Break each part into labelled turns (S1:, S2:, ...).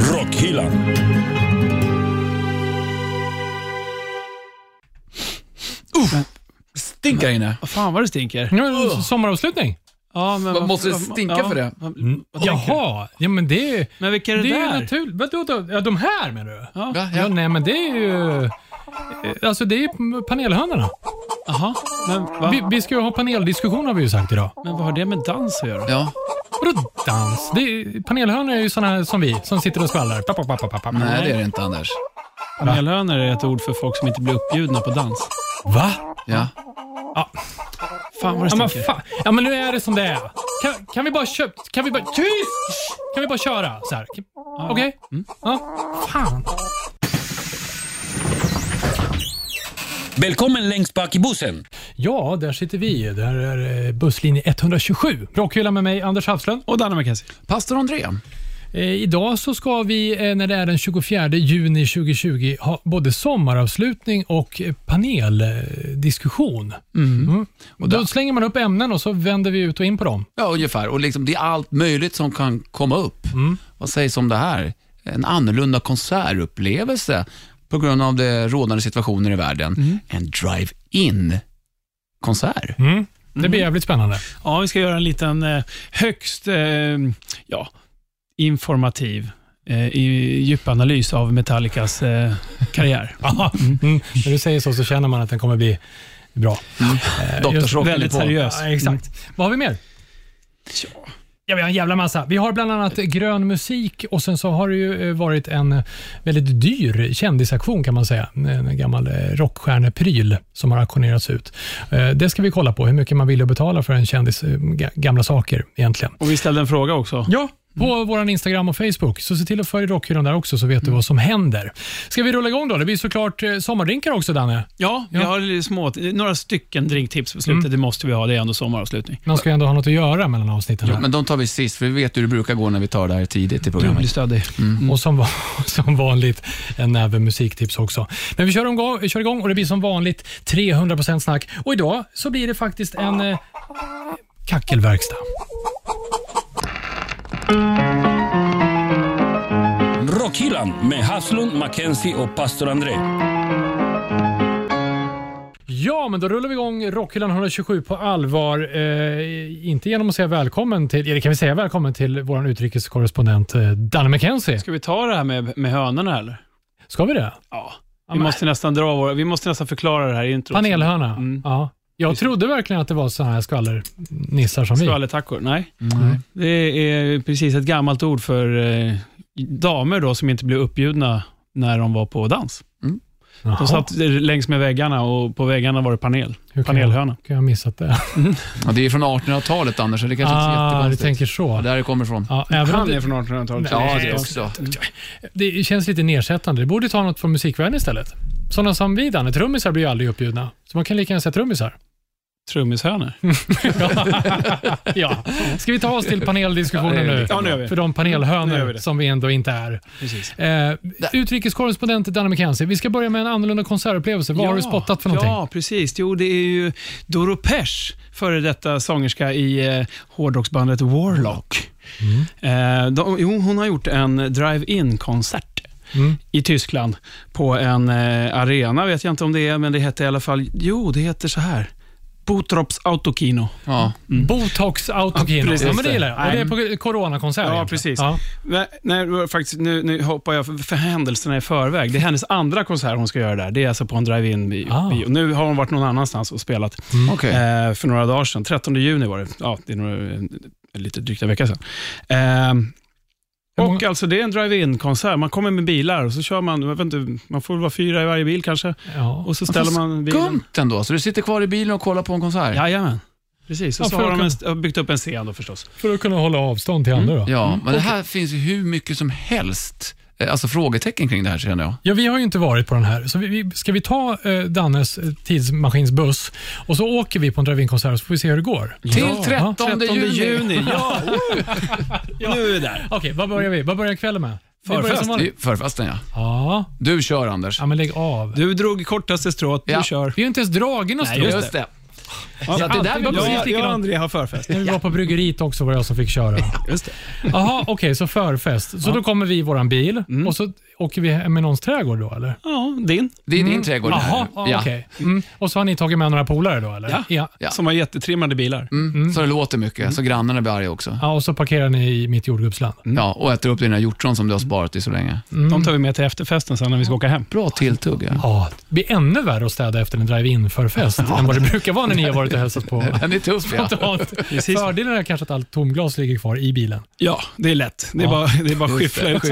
S1: bokhyllan.
S2: Stinker inne.
S3: Vad fan vad det stinker.
S4: Nu är det sommaravslutning.
S3: Ja, men
S2: Vad
S3: vad-
S2: måste det
S3: vad-
S2: stinka
S3: ja,
S2: för det?
S3: vad- vad tänker du?
S4: Jaha, ja men det är ju...
S3: Men vilka är det,
S4: Det är ju
S3: där?
S4: naturligt. Vadå då? Ja, de här menar du? Ja.
S2: Ja,
S4: ja,
S2: ja.
S4: nej men det är ju... eh, Alltså det är ju panelhönarna.
S3: Jaha, men, va?
S4: Vi, vi ska ju ha paneldiskussion har vi ju sagt idag.
S3: men vad har det med dans att göra?
S2: ja.
S4: Vadå dans? Det är, panelhönor är ju såna som vi, som sitter och skvallrar. Pa, pa, pa, pa, pa, pa.
S2: Nej, det är det inte Anders.
S3: Panelhönor är ett ord för folk som inte blir uppbjudna på dans.
S4: Va?
S2: Ja.
S3: Fan vad det
S4: Ja men,
S3: stinker.
S4: fan. ja men nu är det som det är. Kan, kan vi bara köra? Kan vi bara... Tyst! Kan vi bara köra? Så här. Kan- Okej?
S3: Mm.
S4: Ja. Fan.
S1: Välkommen längst bak i bussen.
S4: Ja, där sitter vi. Där är eh, busslinje 127. Rockhyllan med mig, Anders Hafslund.
S3: Och Danne McKenzie.
S2: Pastor André.
S4: Eh, idag så ska vi, eh, när det är den 24 juni 2020, ha både sommaravslutning och eh, paneldiskussion. Mm. Och då slänger man upp ämnen och så vänder vi ut och in på dem.
S2: Ja, ungefär. Och liksom, det är allt möjligt som kan komma upp.
S3: Mm.
S2: Vad sägs om det här? En annorlunda konsertupplevelse på grund av det rådande situationer i världen.
S3: Mm.
S2: En drive-in
S3: Eh,
S2: konsert.
S4: Mm. Det blir jävligt spännande.
S3: Ja, vi ska göra en liten eh, högst eh, ja, informativ eh, i- djupanalys av Metallicas eh, karriär.
S4: Ja, Mm. När du säger så så känner man att den kommer bli bra.
S2: Dr. Rock
S3: väldigt
S2: är på.
S3: seriös.
S4: Ja, exakt. Mm. Vad har vi mer? Ja, vi har en jävla massa. Vi har bland annat grön musik och sen så har det ju eh, varit en väldigt dyr kändisaktion kan man säga. En gammal eh, rockstjärnepryl som har auktionerats ut. Eh, Det ska vi kolla på, hur mycket man vill betala för en kändis eh, ga- gamla saker egentligen.
S3: Och vi ställde en fråga också.
S4: Ja, på vår Instagram och Facebook. Så se till att följa Rockhyllan där också så vet du vad som händer. Ska vi rulla igång då? Det blir såklart eh, sommardrinkar också Danne.
S3: Ja, vi
S4: Ja. Mm.
S3: har lite små, några stycken drinktips på slutet. Det måste vi ha, det är ändå sommaravslutning.
S4: Man ska ju ändå ha något att göra mellan avsnitten.
S2: Jo,
S4: här.
S2: men de tar vi sist, för vi vet hur det brukar gå när vi tar det här tidigt i
S3: Du blir
S2: programmet.
S3: stöddig.
S4: Och som, va- som vanligt en näve musiktips också. Men vi kör igång, vi kör igång och det blir som vanligt 300% snack. Och idag så blir det faktiskt en eh, kackelverkstad.
S1: Rockhyllan med Haslund, Mackenzie och pastor André.
S4: Ja, men då rullar vi igång Rockhyllan 127 på allvar. Eh, inte genom att säga välkommen till, eller kan vi säga välkommen till vår utrikeskorrespondent eh, Danne McKenzie?
S3: Ska vi ta det här med, med hönorna eller?
S4: Ska vi det?
S3: Ja. Vi måste nästan dra vår, vi måste nästan förklara det här i introt.
S4: Panelhörna?
S3: Mm.
S4: Ja. Jag trodde verkligen att det var sådana här skvallernissar som vi.
S3: Skvallertackor? Nej.
S2: Nej.
S3: Det är precis ett gammalt ord för eh, damer då, som inte blev uppbjudna när de var på dans. De
S4: Jaha,
S3: satt längs med väggarna och på väggarna var det panel.
S4: hur kan jag,
S3: Panelhörna.
S4: kan jag ha missat det?
S2: Ja, det är från 1800-talet, Anders, så det kanske inte är
S4: Ah, du
S2: jättekonstigt.
S4: tänker
S2: Ja,
S4: så.
S2: Där det kommer ifrån.
S4: Ja, även om
S3: Han
S4: det,
S3: är från 1800-talet.
S2: Ja,
S4: Nej,
S2: det också.
S4: det känns lite nedsättande. Det borde ta något från musikvärlden istället. Sådana som vi, Danne. Trummisar blir ju aldrig uppbjudna. Så man kan lika gärna säga trummisar.
S3: Trummishönor.
S4: ja. Ska vi ta oss till paneldiskussionen nu?
S3: Ja, nu gör vi.
S4: För de
S3: Nu gör
S4: panelhönor
S3: vi det.
S4: som vi ändå inte är.
S3: Precis.
S4: Eh, utrikeskorrespondent Danne McKenzie, vi ska börja med en annorlunda konsertupplevelse. Vad har du spottat för någonting?
S3: Ja, precis. Jo, det är ju Doro Pesch, före detta sångerska i eh, hårdrocksbandet Warlock. Eh, de, jo, hon har gjort en drive-in-konsert.
S4: Mm.
S3: i Tyskland på en eh, arena, vet jag inte om det är, men det hette i alla fall, jo, det heter så här. Botrops Autokino.
S2: Ja.
S4: Botox autogin.
S3: Ja,
S4: Ja,
S3: precis.
S4: men det gillar jag. Och det
S3: Nej.
S4: är på coronakonsert.
S3: Ja,
S4: egentligen.
S3: precis.
S4: Ja.
S3: Vä- Nej, det var faktiskt, nu, nu hoppar jag för, för händelserna i förväg. Det är hennes andra konsert hon ska göra där. Det är alltså på en drive-in bio.
S4: Ah.
S3: bio. Nu har hon varit någon annanstans och spelat
S2: Okej.
S3: eh, för några dagar sedan. 13 juni var det. Ja, det är några, eh, lite drygt en vecka sedan. Ehm,
S4: Hur
S3: och
S4: många-
S3: alltså det är en drive-in-konsert. Man kommer med bilar och så kör man, jag vet inte, man får väl vara fyra i varje bil kanske.
S4: Ja.
S3: Och så ställer man bilen.
S2: Skumt ändå, så du sitter kvar i bilen och kollar på en konsert?
S3: Jajamän. Precis, och
S4: Ja,
S3: så
S4: för
S3: har
S4: att
S3: de en, har byggt upp en scen då förstås.
S4: För att kunna hålla avstånd till andra. Då.
S2: Ja, men det här finns ju hur mycket som helst, eh, alltså frågetecken kring det här känner jag.
S4: Ja, vi har ju inte varit på den här. Så vi, vi, ska vi ta eh, Dannes eh, tidsmaskinsbuss och så åker vi på en drive-in-konsert så får vi se hur det går.
S2: Till 13, juni.
S3: ja! Nu är vi där.
S4: Okej, vad börjar vi? Vad börjar kvällen med? Vi börjar
S3: Förfest.
S4: som
S2: Det
S4: vanligt.
S2: är Förfesten ja.
S4: Ja,
S2: Du kör Anders.
S4: ja, men lägg av.
S3: Du drog kortaste strået,
S2: Ja.
S3: du kör.
S4: Vi har inte ens dragit något
S3: Nej,
S4: strå.
S3: just
S2: det. Så att det där
S4: alltid
S2: vi
S4: bra.
S2: börjar.
S3: Jag, jag och André har förfest.
S4: När vi var på bryggeriet också var det jag som fick köra.
S2: Just det.
S4: Jaha, okej, så förfest. Så då kommer vi i våran bil och så åker vi hem i någåns trädgård då eller?
S3: Ja, din.
S2: Det är din trädgård
S4: Jaha,
S2: här.
S4: ja. okej. Mm. Och så har ni tagit med några polare då eller?
S3: Ja.
S4: ja.
S2: Ja.
S3: Som har jättetrimmade bilar.
S2: Mm, Så det låter mycket, så grannarna blir arga också.
S4: Ja, och så parkerar ni i mitt jordgubbsland.
S2: Ja, och äter upp dina hjortron som du har sparat i så länge.
S3: De tar vi med till efterfesten sen när vi ska åka hem.
S2: Bra tilltugg. Ja.
S4: Ja, det blir ännu värre att städa efter en drive-in förfest än vad det brukar vara när ni har varit och hälsat på.
S2: Den är tuff ja.
S4: Spontant.
S3: Precis.
S4: Fördelen är kanske att allt tomglas ligger kvar i bilen
S3: Ja, det är lätt. Det är
S4: Ja.
S3: bara, det är bara att skyffla ut.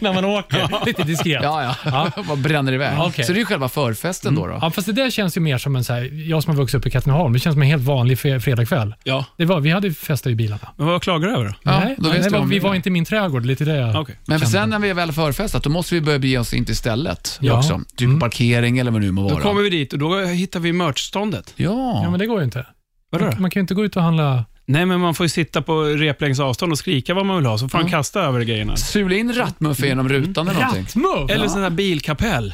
S4: när man åker. Lite diskret.
S2: Ja, ja. Vad bränner iväg.
S4: Ja, okej. Mm.
S2: Så det är ju själva förfesten då. då.
S4: Ja, fast det där känns ju mer som en, så här, jag som har vuxit upp i Katrineholm, det känns som en helt vanlig fe- fredagkväll.
S3: Ja,
S4: Det var, vi hade ju festat i bilarna.
S3: men vad klagar du över då?
S2: Ja,
S4: nej,
S2: då visste
S4: nej,
S2: jag
S4: var,
S2: om
S4: vi
S2: det.
S4: var inte i min trädgård, lite det jag
S3: Okej.
S2: Men för
S4: kände.
S2: sen när vi är väl förfestat, då måste vi börja bege oss in till stället
S4: Ja.
S2: också. Typ parkering eller vad det nu må
S3: Då
S2: vara.
S3: kommer vi dit och då hittar vi merchståndet.
S2: Ja.
S4: Ja, men det går ju inte.
S3: Vadå
S4: Man kan ju inte gå ut och handla.
S3: Nej, men man får ju sitta på replängds avstånd och skrika vad man vill ha, så får han kasta över grejerna.
S2: Sula in rattmuff genom rutan eller någonting.
S4: Rattmuff!
S3: Eller sån där bilkapell.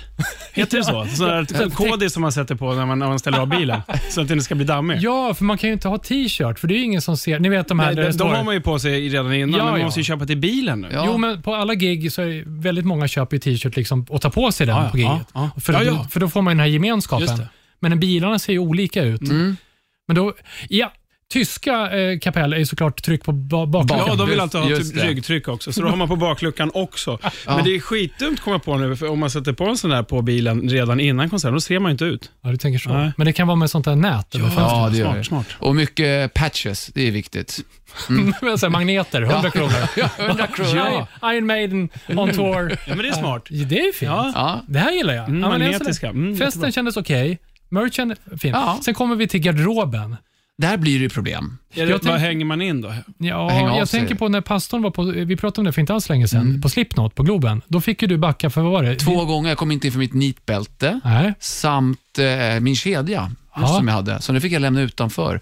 S3: Heter det så? Sån där kodis som man sätter på när man, när man ställer av bilen, så att den inte ska bli dammig.
S4: Ja, för man kan ju inte ha t-shirt, för det är ju ingen som ser. Ni vet de här
S3: Nej,
S4: där det
S3: de, de
S4: står-
S3: har man ju på sig redan innan,
S4: Ja,
S3: men man
S4: ja.
S3: måste ju köpa till bilen nu.
S2: Ja.
S4: Jo, men på alla gig så är det väldigt många köper ju t-shirt liksom och tar på sig den
S3: Ja, ja,
S4: på giget.
S3: ja, ja.
S4: För,
S3: Ja,
S4: då-
S3: ja.
S4: för då får man ju den här
S3: Just
S4: gemenskapen.
S3: det. Mm.
S4: Men bilarna ser ju olika ut. Men då, ja, tyska eh, kapell är ju såklart tryck på ba- bakluckan.
S3: Ja, de vill
S2: Just-
S3: alltid ha
S2: just
S3: typ
S2: det.
S3: ryggtryck också, så då har man på bakluckan också. Men det är skitdumt komma på nu, för om man sätter på en sån där på bilen redan innan konserten, då ser man ju inte ut.
S4: Ja, du tänker så.
S3: Nej.
S4: Men det kan vara med sånt där nät. Ja.
S2: Ja, det gör
S3: Smart,
S2: det.
S3: smart.
S2: Och mycket patches, det är viktigt.
S3: Mm.
S4: magneter, 100 kronor.
S2: 100 kronor.
S4: Ja. Iron Maiden on tour.
S3: Ja, men det är smart.
S4: Ja, det är ju fint.
S3: Ja.
S2: Ja.
S4: Det här gillar jag.
S3: Mm,
S4: Ja, men jag
S3: magnetiska.
S4: ser det.
S3: Mm, jättebra.
S4: Festen kändes okej. Merchen, fint.
S2: Ja.
S4: Sen kommer vi till garderoben.
S2: Där blir det ju problem.
S3: Är det,
S4: Jag
S3: vad
S4: tänk-
S3: hänger man in då?
S4: Ja,
S2: Hänga av
S4: jag
S2: sig. Mm.
S4: tänker på när pastorn var på, vi pratade om det för inte alls länge sedan, på Slipknot på Globen. Då fick ju du backa för, vad var det?
S2: Två gånger, jag kom inte in för mitt nitbälte
S4: Nej.
S2: samt eh, min kedja
S4: Ja.
S2: som jag hade. Så nu fick jag lämna utanför.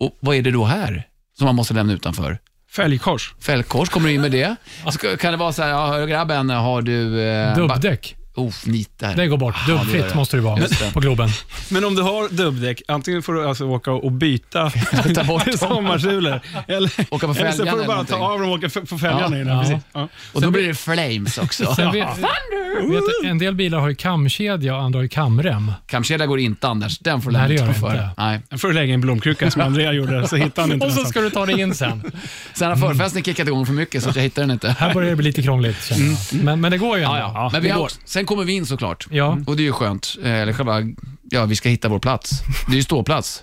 S2: Och vad är det då här som man måste lämna utanför?
S3: Fälgkors.
S2: Fällkors, kommer du in med det? Ska, kan det vara så här, ja, hörru grabben, har du... Eh, ba-
S4: Dubbdäck.
S2: Oh, nit där.
S4: Det går bort.
S2: det gör
S4: Dubbfritt
S2: det.
S4: måste det vara
S2: Just det.
S4: på Globen.
S3: Men om du har dubbdäck, antingen får du alltså åka och byta
S2: Ta bort dem.
S3: sommarsulor. Eller,
S2: Åka på
S3: eller så
S2: fälgarna
S3: får du bara
S2: eller någonting.
S3: ta av dem och åka f- på fälgarna.
S2: Ja.
S3: innan,
S4: Ja.
S3: precis. Ja.
S2: Och då blir det flames också.
S4: Sen vet, vet, du, en del bilar har ju kamkedja och andra har ju kamrem.
S2: Kamkedja går inte Anders, den får du
S4: Nej, det
S2: lämna
S4: gör det
S2: utanför.
S4: inte.
S2: Nej.
S3: Sen får du lägga in blomkrukan som Andrea gjorde, så hittar han inte
S4: Och så
S3: nästan.
S4: ska du ta dig in sen.
S2: Sen
S4: Mm.
S2: har förfesten kickat igång för mycket så att jag hittar den inte.
S4: Här börjar det bli lite krångligt känner jag. Men, men det går ju ändå.
S2: Mm. Ja, ja. Men vi
S4: det
S2: har,
S4: går.
S2: också- sen kommer vi in såklart.
S4: Ja,
S2: Och det är ju skönt. Eh, Eller själva, ja vi ska hitta vår plats. Det är ju ståplats.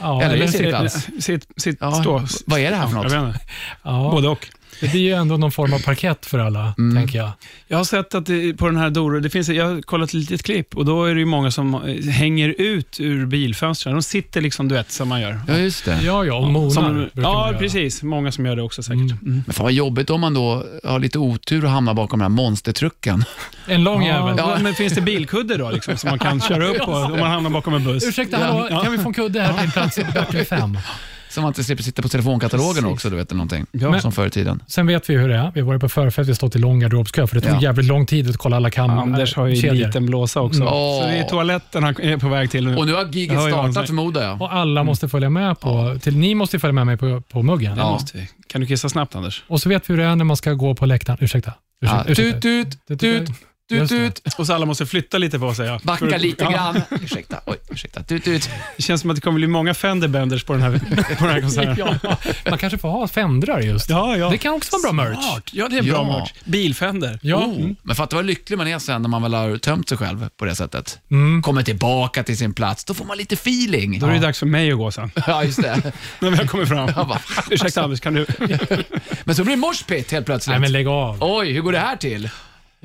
S4: ja,
S2: Eller
S4: eller-
S2: sittplats.
S3: Sitt, sitt,
S2: Ja,
S3: stå.
S2: Vad är det här för
S3: Jag
S2: något?
S3: vet inte.
S4: ja,
S3: Både och.
S4: det blir ju ändå någon form av parkett för alla,
S2: Mm.
S4: tänker jag.
S3: Jag har sett att det, på den här Doro, det finns, jag har kollat ett litet klipp och då är det ju många som eh, hänger ut ur bilfönstren. De sitter liksom, du vet, som man gör.
S2: Ja, just det.
S4: Ja, ja, och monar
S3: Som,
S4: brukar man
S3: ja,
S4: göra.
S3: precis. Många som gör det också säkert.
S4: Mm.
S2: Men fan vad jobbigt om man då har lite otur och hamnar bakom den här monstertrucken.
S4: En lång
S3: Ja,
S4: jävel.
S2: Ja.
S3: Men finns det bilkudde då, liksom, som man kan köra upp på om man hamnar bakom en buss?
S4: Ursäkta, hallå, kan vi få en kudde här till plats bättre fem?
S2: Så man inte slipper sitta på telefonkatalogen
S4: Precis.
S2: också, du vet, eller någonting.
S4: Men-
S2: Som förr i tiden.
S4: Sen vet vi hur det är. Vi har varit på förfest, vi har stått i lång garderobskö, för det tog
S2: Ja.
S4: jävligt lång tid att kolla alla kameror.
S3: Anders har ju en
S4: kedjor.
S3: liten blåsa också.
S2: Mm.
S3: Så det är toaletten han är på väg till nu.
S2: Och nu har giget
S3: Jag hör ju vad han
S2: startat
S3: säger.
S2: förmodar jag.
S4: Och alla måste följa med på... Till, ni måste följa med mig på, på muggen.
S2: Ja.
S3: Måste vi. Kan du kissa snabbt Anders?
S4: Och så vet vi hur det är när man ska gå på läktaren. Ursäkta. ursäkta,
S2: Ja.
S4: ursäkta.
S2: Tut, tut, tut, tut,
S4: Just det.
S2: tut.
S3: Och så alla måste flytta lite på sig. Ja. För-
S2: Backa lite
S3: ja.
S2: grann. Ursäkta, oj, ursäkta. Tut, tut.
S3: Det känns som att det kommer bli många Fenderbenders på den här, på den här konserten.
S4: Ja, man kanske får ha fendrar just.
S3: Ja, ja.
S4: Det kan också vara bra merch.
S3: Smart. Ja, det är bra
S2: Ja.
S3: merch. Bilfender.
S4: Ja.
S2: Oh. Men fatta vad lycklig man är sen när man väl har tömt sig själv på det sättet.
S4: Mm.
S2: Kommer tillbaka till sin plats, då får man lite feeling.
S3: Då är det dags för mig att gå sen,
S2: Ja, just det.
S3: när vi har kommit fram.
S2: Jag bara,
S3: Ursäkta Anders, kan du?
S2: Men så blir det moshpit helt plötsligt.
S4: Nej, men lägg av.
S2: Oj, hur går det här till?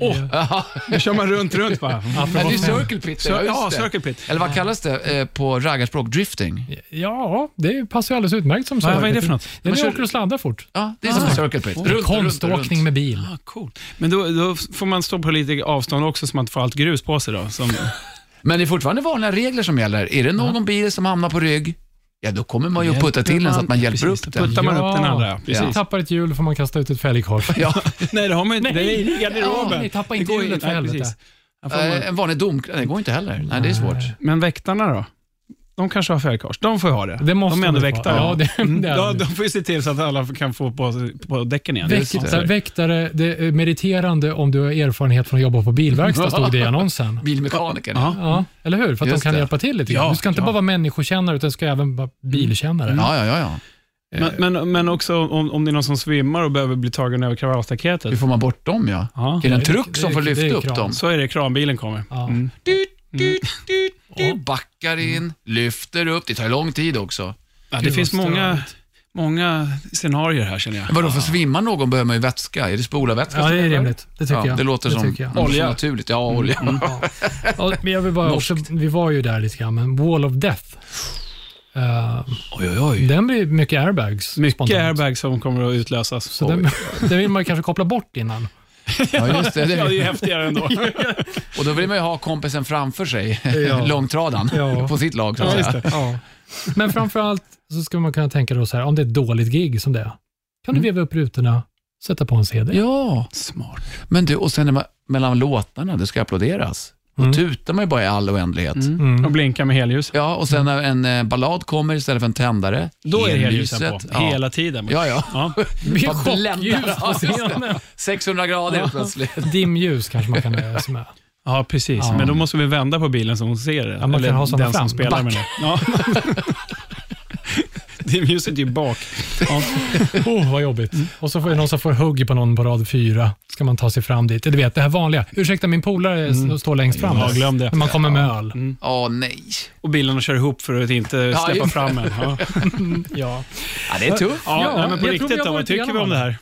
S3: Då kör man runt, runt bara.
S2: Ja, det är
S4: Apropå fem-
S2: circle pit.
S3: Cir-
S2: just
S3: ja,
S2: det.
S3: circle pit.
S2: Eller vad kallas det eh, på raggarspråk? Drifting?
S4: Ja, det passar ju alldeles utmärkt som
S3: Vad-
S4: circle
S3: vad är det
S4: pit.
S3: för något?
S4: Det är
S2: Man
S4: när
S2: kör-
S4: du åker och sladdar fort. Ah.
S2: Ja, det är som circle pit. Runt,
S4: Konståkning
S2: runt, runt.
S4: med bil.
S3: Ah, cool. Men då, då får man stå på lite avstånd också så man inte får allt grus på sig. Då, som,
S2: Men det är fortfarande vanliga regler som gäller. Är det någon bil som hamnar på rygg, ja då kommer man ju att putta till den så att man hjälper
S3: Precis,
S2: upp
S3: då
S2: den.
S3: puttar man upp den andra. ja. Precis.
S4: Ni tappar ett hjul får man kasta ut ett fälgkors.
S2: Ja,
S3: Nej, det har man ju inte. Det är i
S4: Ja,
S3: garderoben.
S4: ni tappar
S3: Det
S4: inte
S3: går
S4: hjulet,
S3: nej,
S4: för helvete.
S3: precis. Ja, får man-
S2: eh, en vanlig dom, det går inte heller. Nej, det är svårt.
S3: Men väktarna då? De kanske har färdkost. De får ju ha det.
S4: Det måste
S3: de är ändå
S4: de få.
S3: väktare.
S4: Ja, det-
S3: Mm.
S4: det är de.
S3: de, de får ju se till så att alla kan få på, på däcken igen.
S4: Väktare, väktare, det är meriterande om du har erfarenhet från att jobba på bilverkstad, stod det i annonsen.
S2: Bilmekanikern.
S3: Ja.
S4: Ja, eller hur? För att
S2: Just
S4: de kan
S2: det.
S4: hjälpa till lite grann.
S3: Ja,
S4: Du ska inte
S3: ja.
S4: bara vara människokännare, utan du ska även vara bilkännare.
S2: Ja, ja, ja, ja.
S3: Men, men, men också om, om det är någon som svimmar och behöver bli tagen över kravallstaketet.
S2: Hur får man bort dem? Ja.
S3: Ja.
S2: Är det en
S4: det-
S2: truck
S4: det-
S2: som får
S4: det- det
S2: lyfta
S4: är
S2: upp
S4: kran.
S2: dem?
S3: Så är det, kranbilen kommer.
S4: Ja.
S3: Mm.
S2: Du, du, du, du, backar in, lyfter upp. Det tar ju lång tid också.
S3: Ja, det
S4: Gud, vad
S3: finns många,
S4: störigt.
S3: många scenarier här känner jag.
S2: Men vadå, för svimmar någon behöver man ju vätska. Är det spolarvätska?
S4: Ja,
S2: som
S4: det är
S2: gäller?
S4: rimligt. Det tycker
S2: Ja,
S4: jag.
S2: Det låter som
S4: tycker jag.
S2: något
S3: Olja.
S2: naturligt. Ja, olja. Mm.
S4: Ja. Ja, men jag vill bara också, vi var ju där lite grann, men Wall of Death. Eh,
S2: Oj, oj, oj.
S4: den blir mycket airbags.
S3: Mycket
S4: spontant.
S3: airbags som kommer att utlösas.
S4: Så den, den vill man ju kanske koppla bort innan.
S2: Ja, just det.
S3: Ja, det är ju
S2: det.
S3: häftigare ändå.
S2: Och då vill man ju ha kompisen framför sig,
S4: Ja.
S2: långtradaren,
S4: Ja.
S2: på sitt lag. Så att
S3: Ja,
S2: säga.
S3: just det.
S4: Ja. Men framförallt så ska man kunna tänka då så här, om det är ett dåligt gig som det är, kan du veva upp rutorna, sätta på en CD.
S2: Ja,
S3: Smart.
S2: men du, och sen när man, mellan låtarna, det ska applåderas. Då
S4: Mm.
S2: tutar man ju bara i all oändlighet.
S4: Mm.
S3: Och blinka med helljus.
S2: Ja, och sen när en eh, ballad kommer istället för en tändare.
S3: Då är det
S2: Helljuset,
S3: helljusen på.
S2: Ja.
S3: Hela tiden.
S2: Ja, ja.
S3: Ja.
S4: Det blir
S2: Bara
S4: chockljus
S2: bländar.
S4: på scenen.
S2: 600 grader helt plötsligt.
S4: Dimljus kanske man kan eh, nöja sig med.
S3: Ja, precis.
S4: Ja.
S3: Men då måste vi vända på bilen som hon ser det.
S4: Ja, man kan
S3: Eller
S4: ha såna
S3: den
S4: fram.
S3: som spelar med det. Ja. det är ljuset ju bak. Ja.
S4: Oh, vad jobbigt. Och så får ju någon som får hugg på någon på rad fyra. Ska man ta sig fram dit. Du vet, det här vanliga. Ursäkta, min polare s- står längst fram.
S3: Ja,
S4: här.
S3: glöm det.
S4: När man kommer med öl.
S2: Åh nej.
S3: Och bilarna kör ihop för att inte
S2: Ja,
S3: släppa
S2: ju-
S3: fram en. Ja.
S4: Ja.
S2: Ja, det är tufft.
S3: Ja,
S4: Ja,
S3: nej, men
S4: jag tror
S3: på
S4: vi
S3: riktigt
S4: har
S3: då, vad
S4: varit
S3: tycker vi
S4: igenom
S3: om det här?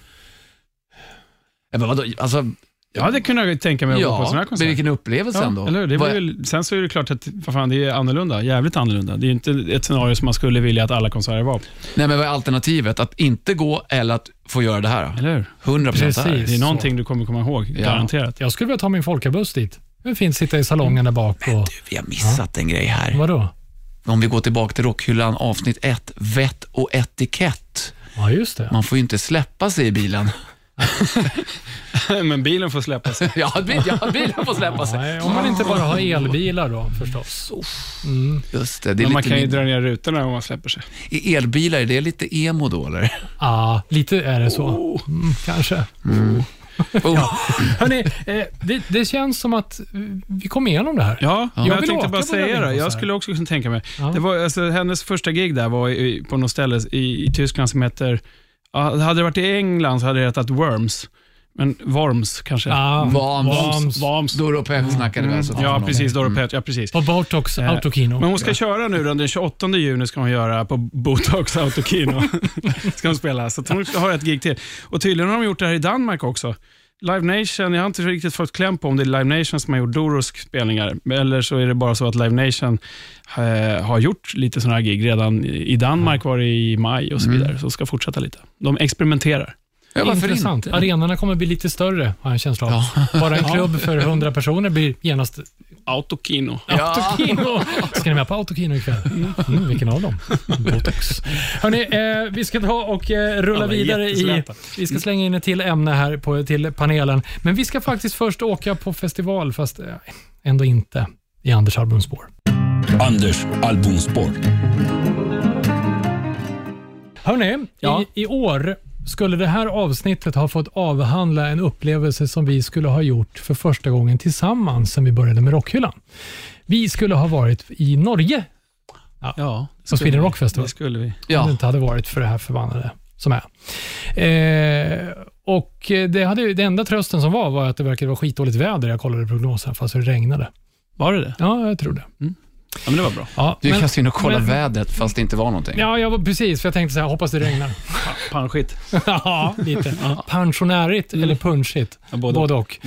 S2: Ja, men vadå, alltså,
S3: Jag hade kunnat tänka mig att gå på en sån här
S2: ja, men
S3: konsert.
S2: vilken upplevelse ändå.
S3: eller hur? det
S2: Vad-
S3: var ju, sen så är det klart att vad fan, det är annorlunda. Jävligt annorlunda. Det är ju inte ett scenario som man skulle vilja att alla konserter var.
S2: Nej, men vad är alternativet? Att inte gå eller att få göra det här?
S3: Eller hur?
S2: 100 procent det här.
S4: Precis.
S3: Det är
S4: Så.
S3: någonting du kommer komma ihåg, garanterat.
S4: Jag skulle vilja ta min folkabuss dit. Det är fint att sitta i salongen där bak. Och,
S2: Vi har missat en grej här.
S4: vadå?
S2: Om vi går tillbaka till Rockhyllan avsnitt 1, vett och etikett.
S4: Ja, just det.
S2: Man får ju inte släppa sig i bilen.
S3: men bilen får släppa sig.
S2: ja, bil, ja, bilen får släppa sig.
S4: Nej, om man inte bara har elbilar då förstås. Mm.
S2: Just det, det är
S3: Men man
S2: lite
S3: kan ju
S2: min...
S3: dra ner rutorna om man släpper sig.
S2: I elbilar, är det lite emo då eller?
S4: Ah, lite är det så. Mm, kanske.
S2: Oh.
S4: Hörrni, eh, det, det känns som att eh, vi kom igenom det här.
S3: Ja,
S4: Jag
S3: jag
S4: vill
S3: tänkte
S4: åka
S3: bara
S4: på den
S3: säga
S4: här
S3: det. Jag
S4: konsert.
S3: skulle också kunna tänka mig.
S4: Ja.
S3: Det var, alltså, hennes första gig där var i, på något ställe i, i Tyskland som heter... Ja, hade det varit i England så hade det hetat Worms. Men Worms kanske.
S4: Ah,
S2: Vams.
S4: Vams.
S3: Worms.
S2: Doro Pep snackade vi alltså
S3: Ja,
S2: om.
S3: precis. Doro
S4: mm.
S3: Pet. Ja, precis.
S4: På Botox
S3: Eh,
S4: Autokino.
S3: Men hon ska köra nu då, den 28 juni ska hon göra på Botox Autokino. ska hon spela, så att hon har ett gig till. Och tydligen har de gjort det här i Danmark också. Live Nation, jag har inte riktigt fått kläm på om det är Live Nation som har gjort Doros spelningar, eller så är det bara så att Live Nation eh, har gjort lite sådana här gig. Redan i Danmark var det i maj och så vidare, så ska fortsätta lite. De experimenterar.
S2: Ja, varför
S4: Intressant.
S2: inte?
S4: Arenorna kommer bli lite större, har jag en känsla av. Bara en klubb för 100 personer blir genast
S3: Autokino.
S2: Ja.
S4: Autokino. Ska ni med på Autokino ikväll? Mm, vilken av dem? Botox. Hörrni, eh, vi ska ta och eh, rulla
S3: Ja, men
S4: vidare i...
S3: jättesläta. Mm.
S4: Vi ska slänga in ett till ämne här på, till panelen. Men vi ska faktiskt först åka på festival, fast eh, ändå inte i Anders albumspår.
S1: Anders albumspår.
S4: Hörrni,
S3: Ja.
S4: i, i år skulle det här avsnittet ha fått avhandla en upplevelse som vi skulle ha gjort för första gången tillsammans sen vi började med Rockhyllan. Vi skulle ha varit i Norge
S3: Ja,
S4: på Sweden Rock Festival.
S3: det skulle vi.
S4: Om det
S2: Ja.
S4: inte hade varit för det här förbannade som är. Eh, och det, hade, ju- det enda trösten som var var att det verkade vara skitdåligt väder. Jag kollade prognosen fast det regnade.
S3: Var det det?
S4: Ja, jag tror det.
S3: Ja, men det var bra.
S4: Ja,
S2: Du
S4: men-
S2: kastade in och kollade
S4: men-
S2: vädret fast det inte var någonting.
S4: Ja, jag var, precis. För jag tänkte så här, hoppas det regnar.
S3: Panskit.
S4: ja, lite. Pensionärigt eller punchigt?
S3: Ja, både
S4: Både, och.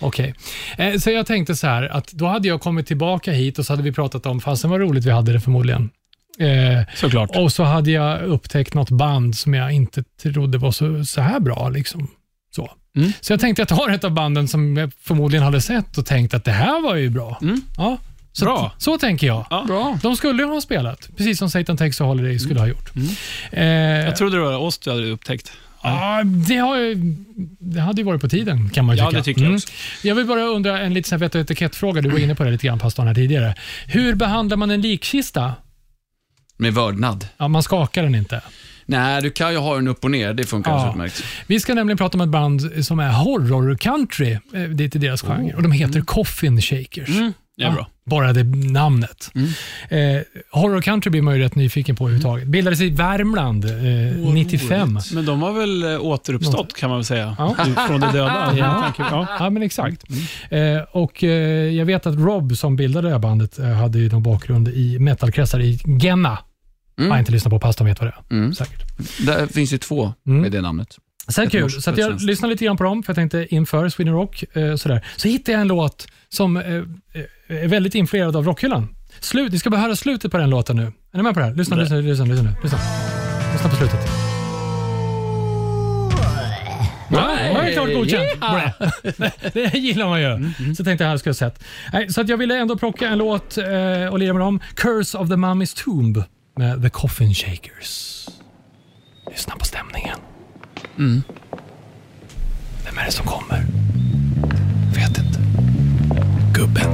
S4: Okej. Eh, Så jag tänkte så här, att då hade jag kommit tillbaka hit och så hade vi pratat om, fasen vad roligt vi hade det förmodligen. Eh,
S3: Såklart.
S4: och så hade jag upptäckt något band som jag inte trodde var så, så här bra. Liksom. Så.
S3: Mm.
S4: så jag tänkte jag tar ett av banden som jag förmodligen hade sett och tänkt att det här var ju bra.
S3: Mm.
S4: Ja, så,
S3: Bra.
S4: så tänker jag.
S3: Ja. Bra.
S4: De skulle ju ha spelat, precis som Satan Takes a Holiday skulle ha gjort. Eh,
S3: Mm. Jag trodde det var oss du hade upptäckt.
S4: Ja, det, har, ju- det hade ju varit på tiden kan man ju
S3: Ja,
S4: tycka. Mm.
S3: det tycker jag också.
S4: Jag vill bara undra en liten så här vett och etikettfråga. Du var inne på det lite grann, pastorn, här tidigare. Hur behandlar man en likkista
S2: Med vördnad.
S4: Ja, man skakar den inte.
S2: Nej, du kan ju ha den upp och ner. Det funkar
S4: Ja.
S2: alldeles utmärkt.
S4: Vi ska nämligen prata om ett band som är horror country. eh, Det är till deras genre. Och de heter Coffin Shakers.
S2: Oh. Mm. Det är
S4: Ja,
S2: bra. Mm.
S4: Bara det namnet. Eh, horror country blir man ju rätt nyfiken på överhuvudtaget. Bildades i Värmland eh, 95.
S3: Men de har väl eh, återuppstått kan man väl säga.
S4: Ja.
S3: Från det döda.
S4: Ja.
S3: Jag tänker- ja.
S4: Ja, men exakt.
S2: Mm.
S4: Eh, och eh, Jag vet att Rob som bildade det här bandet eh, hade ju någon bakgrund i metalkretsar i Genna. Jag har inte lyssnat på, pastorn vet vad det är.
S2: Mm.
S4: Säkert.
S2: Där finns ju två
S4: Mm.
S2: med det namnet.
S4: Så här
S2: Ett
S4: kul.
S2: norskt
S4: Så att jag
S2: gudstjänst.
S4: lyssnade lite grann på dem, för jag tänkte inför Sweden Rock. Eh, sådär. Så hittade jag en låt som eh, eh, är väldigt influerad av rockhyllan. Slut, ni ska bara höra slutet på den låten nu. Är ni med på det här? Lyssna, lyssna, lyssna, lyssna nu. Lyssna. lyssna på slutet. Nej, det är klart godkänt. Blä. Det gillar man ju. Så tänkte jag här ska jag sett. Nej, så att jag ville ändå plocka en låt eh, och lira med dem. Curse of the Mummy's Tomb med The Coffin Shakers. Lyssna på stämningen. Vem är det som kommer?
S2: Vet inte. Gubben.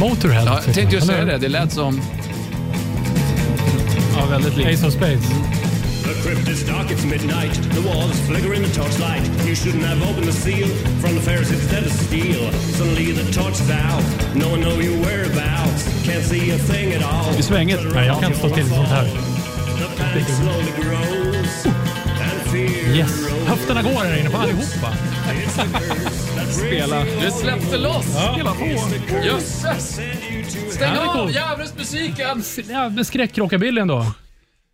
S4: Motorhead.
S2: Ja, jag tänkte ju
S4: Eller
S2: säga
S4: hur?
S2: det. Det lät som...
S3: ja, väldigt likt.
S4: Ace of Spades.
S5: The crypt is dark, it's midnight. The walls flicker in the torchlight. You shouldn't have opened the seal. From the fairs instead of steel. Suddenly the torch is out. No one know your whereabouts. Can't see a thing at all.
S4: er
S3: I svänget.
S4: Nej, jag kan inte stå till sånt här.
S5: The panic slowly grows. And fear
S4: Yes. Höfterna går här inne på allihopa.
S3: Spela.
S2: Det släppte loss! Hela på. Jösses! Stäng
S4: Ja, det är coolt.
S2: djävulsmusiken!
S4: Ja, men skräckrockabilly ändå.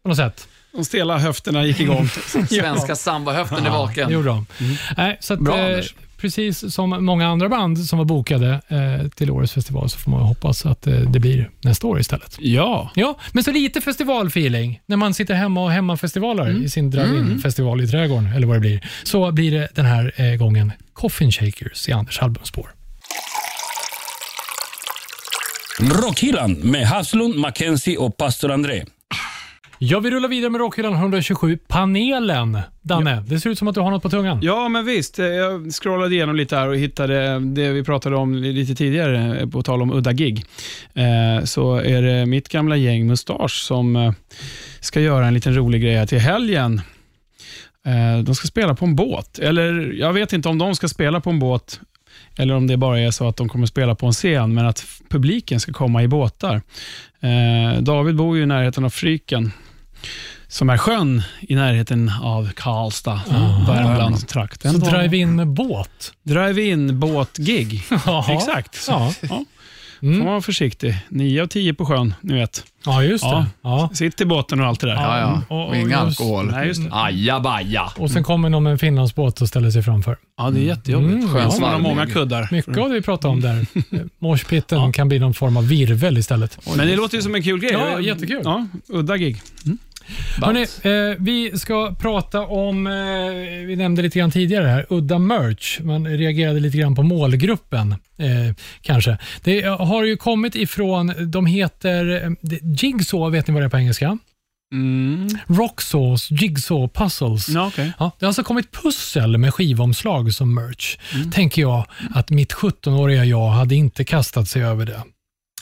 S4: På något sätt.
S3: De stela höfterna gick igång.
S2: Svenska sambahöften är
S4: Det
S2: vaken.
S4: gjorde de. Nej, så att,
S2: Mm. Bra,
S4: eh,
S2: Anders.
S4: Precis som många andra band som var bokade eh, till årets festival så får man hoppas att eh, det blir nästa år istället.
S3: Ja.
S4: Ja, men så lite festivalfeeling. När man sitter hemma och hemmafestivalar
S2: Mm.
S4: i sin drive-in-festival i trädgården, eller vad det blir, så blir det den här eh, gången Coffin Shakers i Anders albumspår.
S1: Rockhyllan med Haslund, Mackenzie och pastor André.
S4: Ja, vi rullar vidare med Rockhyllan 127, panelen. Danne, det ser ut som att du har något på tungan.
S3: Ja, men visst. Eh, Jag scrollade igenom lite här och hittade det vi pratade om lite tidigare, eh, på tal om udda gig. Eh, Så är det mitt gamla gäng Mustasch som eh, ska göra en liten rolig grej här till helgen. Eh, De ska spela på en båt, eller jag vet inte om de ska spela på en båt eller om det bara är så att de kommer spela på en scen, men att f- publiken ska komma i båtar. Eh, David bor ju i närheten av Fryken, som är sjön i närheten av Karlstad, Värmland-trakten.
S4: Så drive-in med båt.
S3: Drive-in båtgig.
S4: Jaha.
S3: Exakt.
S4: Ja,
S3: Ja.
S4: Mm.
S3: Får man vara försiktig. 9 av 10 på sjön, ni vet.
S4: ja just det.
S3: Ja.
S4: Ja.
S3: Sitt i båten och allt det där.
S2: Ja, ja.
S4: Och- och
S2: Och ingen
S4: just-
S2: alkohol.
S3: Nej, just det.
S2: Ajabaja.
S4: Och sen kommer någon med en finlandsbåt och ställer sig framför.
S3: Ja, det är jättejobbigt.
S4: Mm,
S3: Skönt.
S2: ja.
S3: man har många kuddar.
S4: Mycket av det vi pratade om där, eh, moshpitten, kan bli någon form av virvel istället.
S3: Men det låter ju som en kul grej.
S4: Ja, jättekul.
S3: Ja, udda gig.
S4: Hörrni, eh, vi ska prata om, eh, vi nämnde lite grann tidigare här, udda merch. Man reagerade lite grann på målgruppen, eh, kanske. Det har ju kommit ifrån, de heter eh, det- Jigsaw, vet ni vad det är på engelska?
S3: Mm.
S4: Rocksaws, Jigsaw Puzzles.
S3: Ja, okej.
S4: Ja, det har alltså kommit pussel med skivomslag som merch.
S3: Mm.
S4: Tänker jag att mitt 17-åriga jag hade inte kastat sig över det.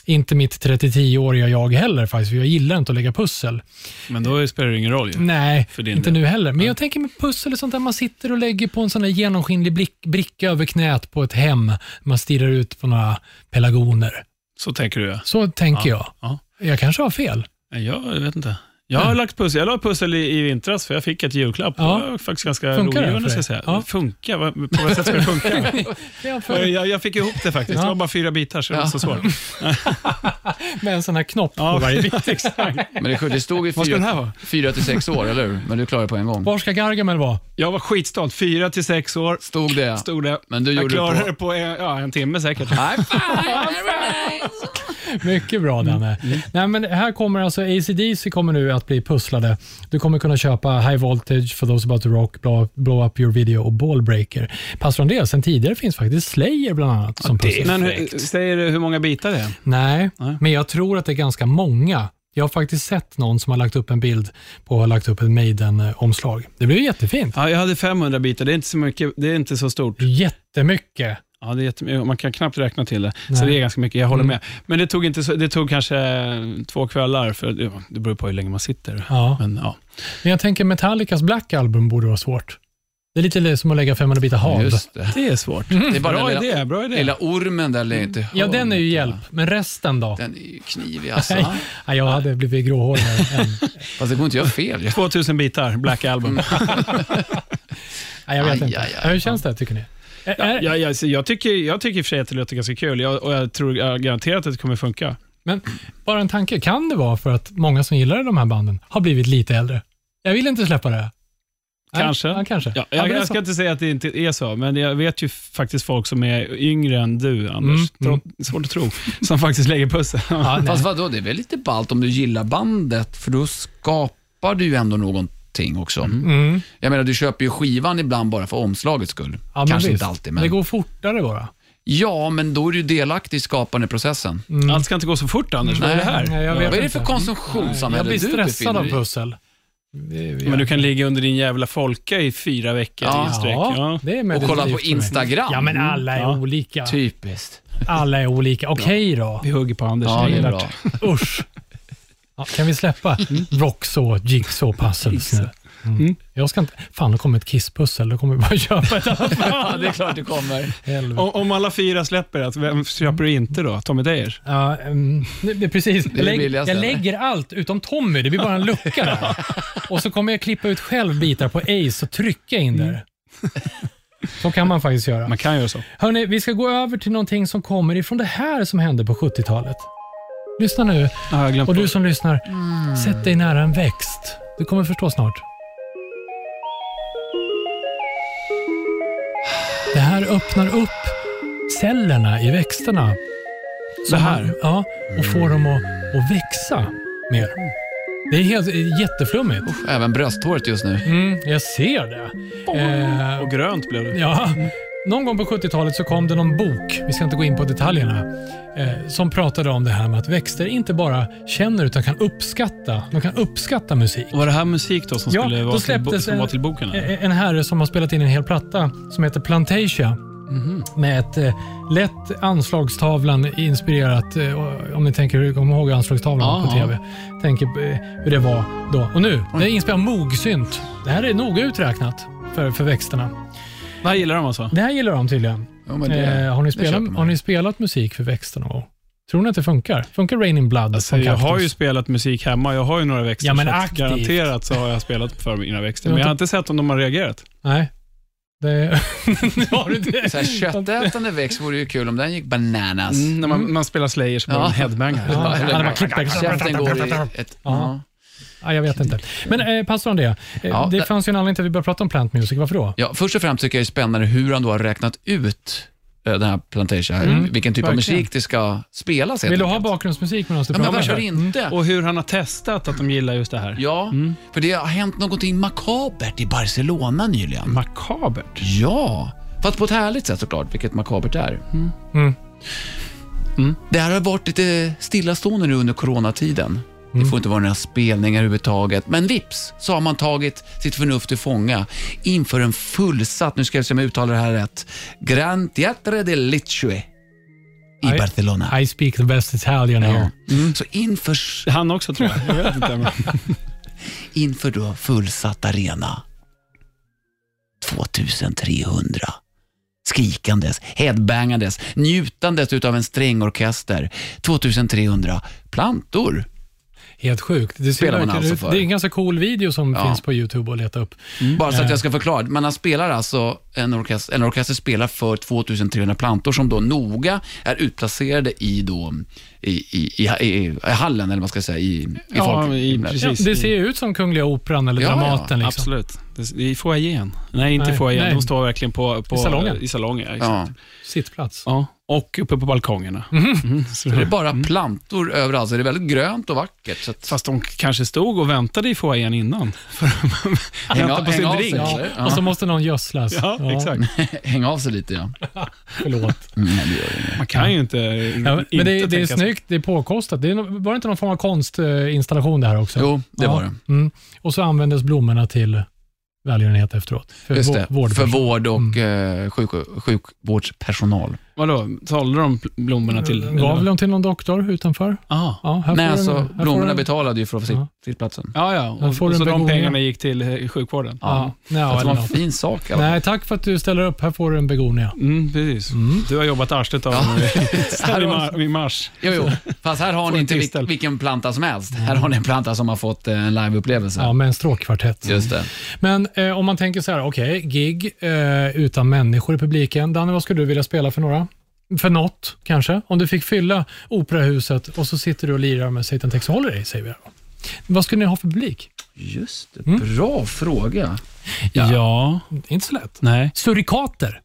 S4: Inte mitt 33-åriga jag heller faktiskt, för jag gillar inte att lägga pussel.
S3: Men då spelar det ingen roll ju.
S4: Nej,
S3: För din
S4: inte
S3: del.
S4: nu heller. Men jag tänker med pussel och sånt där man sitter och lägger på en sån där genomskinlig blick, bricka över knät på ett hem. Man stirrar ut på några pelargoner.
S3: Så tänker du ja.
S4: Så tänker jag.
S3: ja.
S4: Jag kanske har fel.
S3: Nej, Eh, Jag vet inte. Jag har lagt pussel. Jag la pussel i, i vintras för jag fick ett julklapp.
S4: Ja.
S3: Det var faktiskt ganska
S4: Funkar det för
S3: rogivande ska
S4: dig?
S3: jag säga.
S4: Ja.
S3: Funkar? Vad- På vad sätt ska det funka?
S4: Jag får-
S3: jag, jag fick ihop det faktiskt.
S4: Ja.
S3: Det var bara fyra bitar så det var inte så svårt.
S4: Med en sån här knopp på
S3: Ja,
S4: varje
S3: exakt.
S2: Men det, är sjukt, det stod ju
S3: Vad ska den här
S2: fyra-
S3: vara?
S2: fyra till sex år, eller hur? Men du klarade det på en gång.
S4: Var ska Gargamel vara?
S3: Jag var skitstolt. Fyra till sex år
S2: Stod det?
S3: stod det.
S2: Men du
S3: jag
S2: gjorde det
S3: klarade
S2: på-
S3: det på en, ja, en timme säkert.
S2: Nej, fan.
S4: Mycket bra
S3: Mm.
S4: Danne. Nej, men här kommer alltså ACDC kommer nu att bli pusslade. Du kommer kunna köpa High Voltage, For Those About to Rock, Blow, blow Up Your Video och Ballbreaker. Passar om det? Sen tidigare finns faktiskt Slayer bland annat som pussel.
S3: Men hur, säger du hur många bitar det är?
S4: Nej,
S3: Nej.
S4: men jag tror att det är ganska många. Jag har faktiskt sett någon som har lagt upp en bild på och har lagt upp ett Maiden-omslag. Det blir ju jättefint.
S3: Ja, jag hade 500 bitar. Det är inte så mycket. Det är inte så stort.
S4: Jättemycket.
S3: Ja, det är jättemycket. Man kan knappt räkna till det. Så det är ganska mycket, jag håller
S4: Mm.
S3: med. Men det tog, inte så, det tog kanske eh, två kvällar, för ja, det beror på hur länge man sitter.
S4: Ja.
S3: Men, ja.
S4: Men jag tänker Metallicas Black Album borde vara svårt. Det är lite som att lägga 500 bitar hav.
S2: Just det.
S3: Det är svårt.
S4: Mm.
S2: Det är bara
S3: Bra
S2: den lilla,
S3: idé, bra idé.
S2: lilla ormen där lite i
S4: Ja, den är ju
S2: hörnet,
S4: hjälp. Men resten då?
S2: va? Den är ju knivig alltså.
S4: Nej. Ja, jag hade blivit gråhårig än.
S2: Fast det går inte att göra fel. ju.
S3: 2000 bitar, Black
S4: Mm.
S3: Album.
S4: Nej, jag
S2: Aj,
S4: vet inte.
S2: aj, aj.
S4: Ja, Hur känns det tycker ni? Ä-
S3: ja,
S4: är-
S3: ja, alltså, jag, tycker, jag tycker i och för sig att det låter ganska kul jag, och jag tror jag garanterat att det kommer funka.
S4: Men bara en tanke, kan det vara för att många som gillar de här banden har blivit lite äldre? Jag vill inte släppa det. här. Nej,
S3: Kanske.
S4: Ja, kanske.
S3: Ja,
S4: Ja,
S3: jag,
S4: men
S3: jag ska
S4: så-
S3: inte säga att det inte är så, men jag vet ju faktiskt folk som är yngre än du, Anders.
S4: Mm,
S3: Tro, svårt att tro. Som faktiskt lägger pussel.
S4: Ja, nej.
S2: Fast vadå, det är väl lite ballt om du gillar bandet, för då skapar du ju ändå någonting också.
S4: Mm.
S2: Jag menar, du köper ju skivan ibland bara för omslagets skull.
S4: Ja, men
S2: Kanske
S4: visst.
S2: inte alltid, men...
S4: Det går fortare bara.
S2: Ja, men då är du ju delaktig i skapandeprocessen.
S3: Allt ska inte gå så fort, Anders. Vad är det här?
S4: Mm. Nej, jag vet
S2: Vad är det för
S4: inte. Jag
S2: konsumtionssamhälle
S4: blir
S2: du
S4: stressad
S2: befinner
S4: av
S2: dig i?
S4: pussel. Det är-
S3: Men du kan ligga under din jävla folka i fyra veckor
S2: Ja.
S3: i sträck. Ja.
S4: det är
S2: Och
S4: meditativt
S2: kolla
S4: för
S2: på
S4: mig.
S2: Instagram? Mm. Typ.
S4: Ja, men alla är
S3: Ja.
S4: olika.
S2: Typiskt.
S4: Alla är olika. Okej
S3: Vi hugger på Anders.
S2: Ja, det är bra.
S4: då. Usch. Ja, kan vi släppa Rocksaw, Jigsaw puzzles nu? Mm. Jag ska inte... Fan, det kommer ett kisspussel. Då kommer vi bara köpa ett annat.
S2: Ja, det är klart det kommer.
S4: Helvete.
S3: Om, om alla fyra släpper, alltså, vem köper du inte då? Tommy Deyer?
S4: Ja, mm, det det är precis.
S2: det
S4: Jag, lägg,
S2: billigaste,
S4: jag
S2: eller?
S4: lägger allt utom Tommy. Det blir bara en lucka där. Och så kommer jag klippa ut själv bitar på Ace och trycka in
S2: Mm.
S4: där. Så kan man faktiskt göra.
S3: Man kan göra så.
S4: Hörni, vi ska gå över till någonting som kommer ifrån det här som hände på 70-talet. Lyssna nu.
S3: Ja, jag glömde
S4: Och du som lyssnar, sätt dig nära en växt. Du kommer förstå snart. Det här öppnar upp cellerna i växterna. Så här? Ja, och får dem att, att växa mer. Det är helt, jätteflummigt.
S2: Även brösthåret just nu.
S4: Mm, jag ser det. Eh,
S3: Och grönt blev det.
S4: Ja, någon gång på 70-talet så kom det någon bok, vi ska inte gå in på detaljerna, eh, som pratade om det här med att växter inte bara känner utan kan uppskatta, de kan uppskatta musik.
S3: Och var det här musik då som
S4: Ja,
S3: skulle
S4: då
S3: vara till, bo-
S4: släpptes
S3: som
S4: en-
S3: var till boken? eller?
S4: Eh, En herre som har spelat in en hel platta som heter Plantasia
S2: Mhm.
S4: med ett eh, lätt anslagstavlan inspirerat, eh, om ni tänker, kommer ihåg anslagstavlan
S2: Ja,
S4: på
S2: ja.
S4: TV? Tänker eh, hur det var då. Och nu, det är inspelat mogsynt. Det här är noga uträknat för, för växterna.
S3: Det här gillar de alltså?
S4: Det här gillar de tydligen.
S2: Ja, men det-
S4: eh, har, ni
S2: det
S4: spelat,
S2: köper man.
S4: har ni spelat musik för växter någon gång? Tror ni att det funkar? Funkar Rain in Blood
S3: Alltså,
S4: från
S3: jag har
S4: Cactus?
S3: ju spelat musik hemma. Jag har ju några växter.
S4: Ja, men
S3: så att
S4: aktivt.
S3: garanterat så har jag spelat för mina växter.
S4: Du har
S3: Men jag har
S4: inte-
S3: inte sett om de har reagerat.
S4: Nej. Det, har du det?
S2: Så här, köttätande växt vore ju kul om den gick bananas.
S4: Mm.
S3: Mm, när man, spelar Slayer så
S2: blir
S3: blir
S2: Ja.
S3: man
S2: man
S3: headbanger.
S4: Ja,
S2: eller-
S4: det var klick, klick, klick.
S2: Käften går i ett...
S4: Ja. Ja, jag vet inte. Men eh, pastor Andrea, eh,
S2: Ja,
S4: det,
S2: det-
S4: fanns ju en anledning till att vi började prata om plant music. Varför då?
S2: Ja, först och främst tycker jag det är spännande hur han då har räknat ut eh, den här plantation, vilken typ av
S3: verkligen.
S2: musik det ska spelas helt
S4: Vill du ha
S2: enkelt.
S4: bakgrundsmusik medan du
S2: Ja, men
S4: pratar?
S2: varför inte?
S3: Och hur han har testat att de gillar just det här.
S2: Ja, för det har hänt någonting makabert i Barcelona nyligen.
S3: Makabert.
S2: Ja, fast på ett härligt sätt såklart, vilket makabert är. Mm.
S4: Mm.
S2: Det här har varit lite stillastående nu under coronatiden. Det
S4: Mm.
S2: får inte vara några spelningar överhuvudtaget. Men vips så har man tagit sitt förnuft till fånga inför en fullsatt, nu ska jag se om jag uttalar det här rätt, Grand Teatre de Lichue i
S4: Aj.
S2: Barcelona.
S4: I speak the best Italian here.
S2: Ja. Mm. Så inför,
S3: Han också tror jag. jag vet inte, men.
S2: inför då fullsatt arena. 2300 skrikandes, headbangandes, njutandes utav en strängorkester. 2300 plantor.
S4: Helt sjukt. Det, ser
S2: Spelar man
S4: verkligen
S2: alltså
S4: ut-
S2: för.
S4: det är en ganska cool video som
S2: Ja. Mm.
S4: finns på YouTube att leta upp.
S2: Bara
S4: Eh.
S2: så att jag ska förklara. Men han spelar alltså, en orkester, en orkester spelar för 2300 plantor som då noga är utplacerade i, då, i, i, i, i, i hallen, eller vad man ska säga, i, i
S3: ja,
S2: folk-
S3: i,
S4: Ja,
S3: precis.
S4: det ser ju ut som Kungliga Operan eller
S2: Ja, ja,
S4: Dramaten. liksom.
S3: Absolut. Det- I foajén. Nej, inte i
S4: Nej,
S3: foajén.
S4: nej.
S3: De står verkligen på, på
S4: I salongen.
S3: I salongen ja,
S2: Ja.
S3: exakt.
S4: Sittplats.
S3: Ja. Och uppe på balkongerna.
S4: Mhm.
S3: Mm, så-
S2: Det är bara plantor överallt, så det är väldigt grönt och vackert. Så att,
S3: Fast de kanske stod och väntade i foajén innan. För att vänta
S2: av-
S3: på sin
S2: häng av sig.
S3: drink.
S4: Ja. Alltså,
S2: Ja.
S4: Och så måste någon gödslas.
S3: Ja, exakt.
S2: häng av sig lite, ja. Mm,
S4: Förlåt.
S3: Man kan ju inte eh,
S4: Ja, men det,
S3: inte
S4: är- det är
S3: tänka sig-
S4: snyggt, det är påkostat. Det är, no- var det inte någon form av konstinstallation det här också?
S2: Jo, det
S4: Ja.
S2: var det.
S4: Mm. Och så användes blommorna till välgörenhet efteråt. För
S2: Just det,
S4: vå- vårdpersonal.
S2: för vård och
S4: Mm.
S2: eh, sjuk, sjukvårdspersonal.
S3: Vadå, sålde de blommorna till...
S4: Gav de till någon doktor utanför? Ja, Ah.
S2: Nej,
S4: här får du-
S2: alltså
S4: här får
S2: blommorna
S4: du-
S2: betalade ju för att få sit,
S4: Ja.
S2: sittplatsen.
S3: Ja, ja.
S4: Där
S3: Och,
S4: får
S3: och
S4: du
S3: så
S4: en
S3: de
S4: begonia.
S3: pengarna gick till eh, sjukvården.
S4: Ja. Nej,
S2: Att det var
S4: eller
S2: en
S4: något.
S2: fin sak i alla fall.
S4: Nej, tack för att du ställer upp. Här får du en begonia.
S3: Mm, precis. Du har jobbat arslet av mig i, mar- i mars.
S2: Jo, jo. Fast här har ni
S3: en
S2: inte vil-
S3: tistel.
S2: vilken planta som helst. Här har ni en planta som har fått eh, en liveupplevelse.
S4: Ja, med en stråkkvartett.
S2: Just det.
S4: Men eh, om man tänker så här, okej, gig eh, utan människor i publiken. Danne, vad skulle du vilja spela för några? För något, kanske? Om du fick fylla operahuset och så sitter du och lirar med Satan Takes Holiday, säger vi. här då. Vad skulle ni ha för publik?
S2: Just det. Bra fråga.
S4: Ja.
S3: ja.
S4: Det är inte så lätt.
S3: Nej.
S4: Surikater.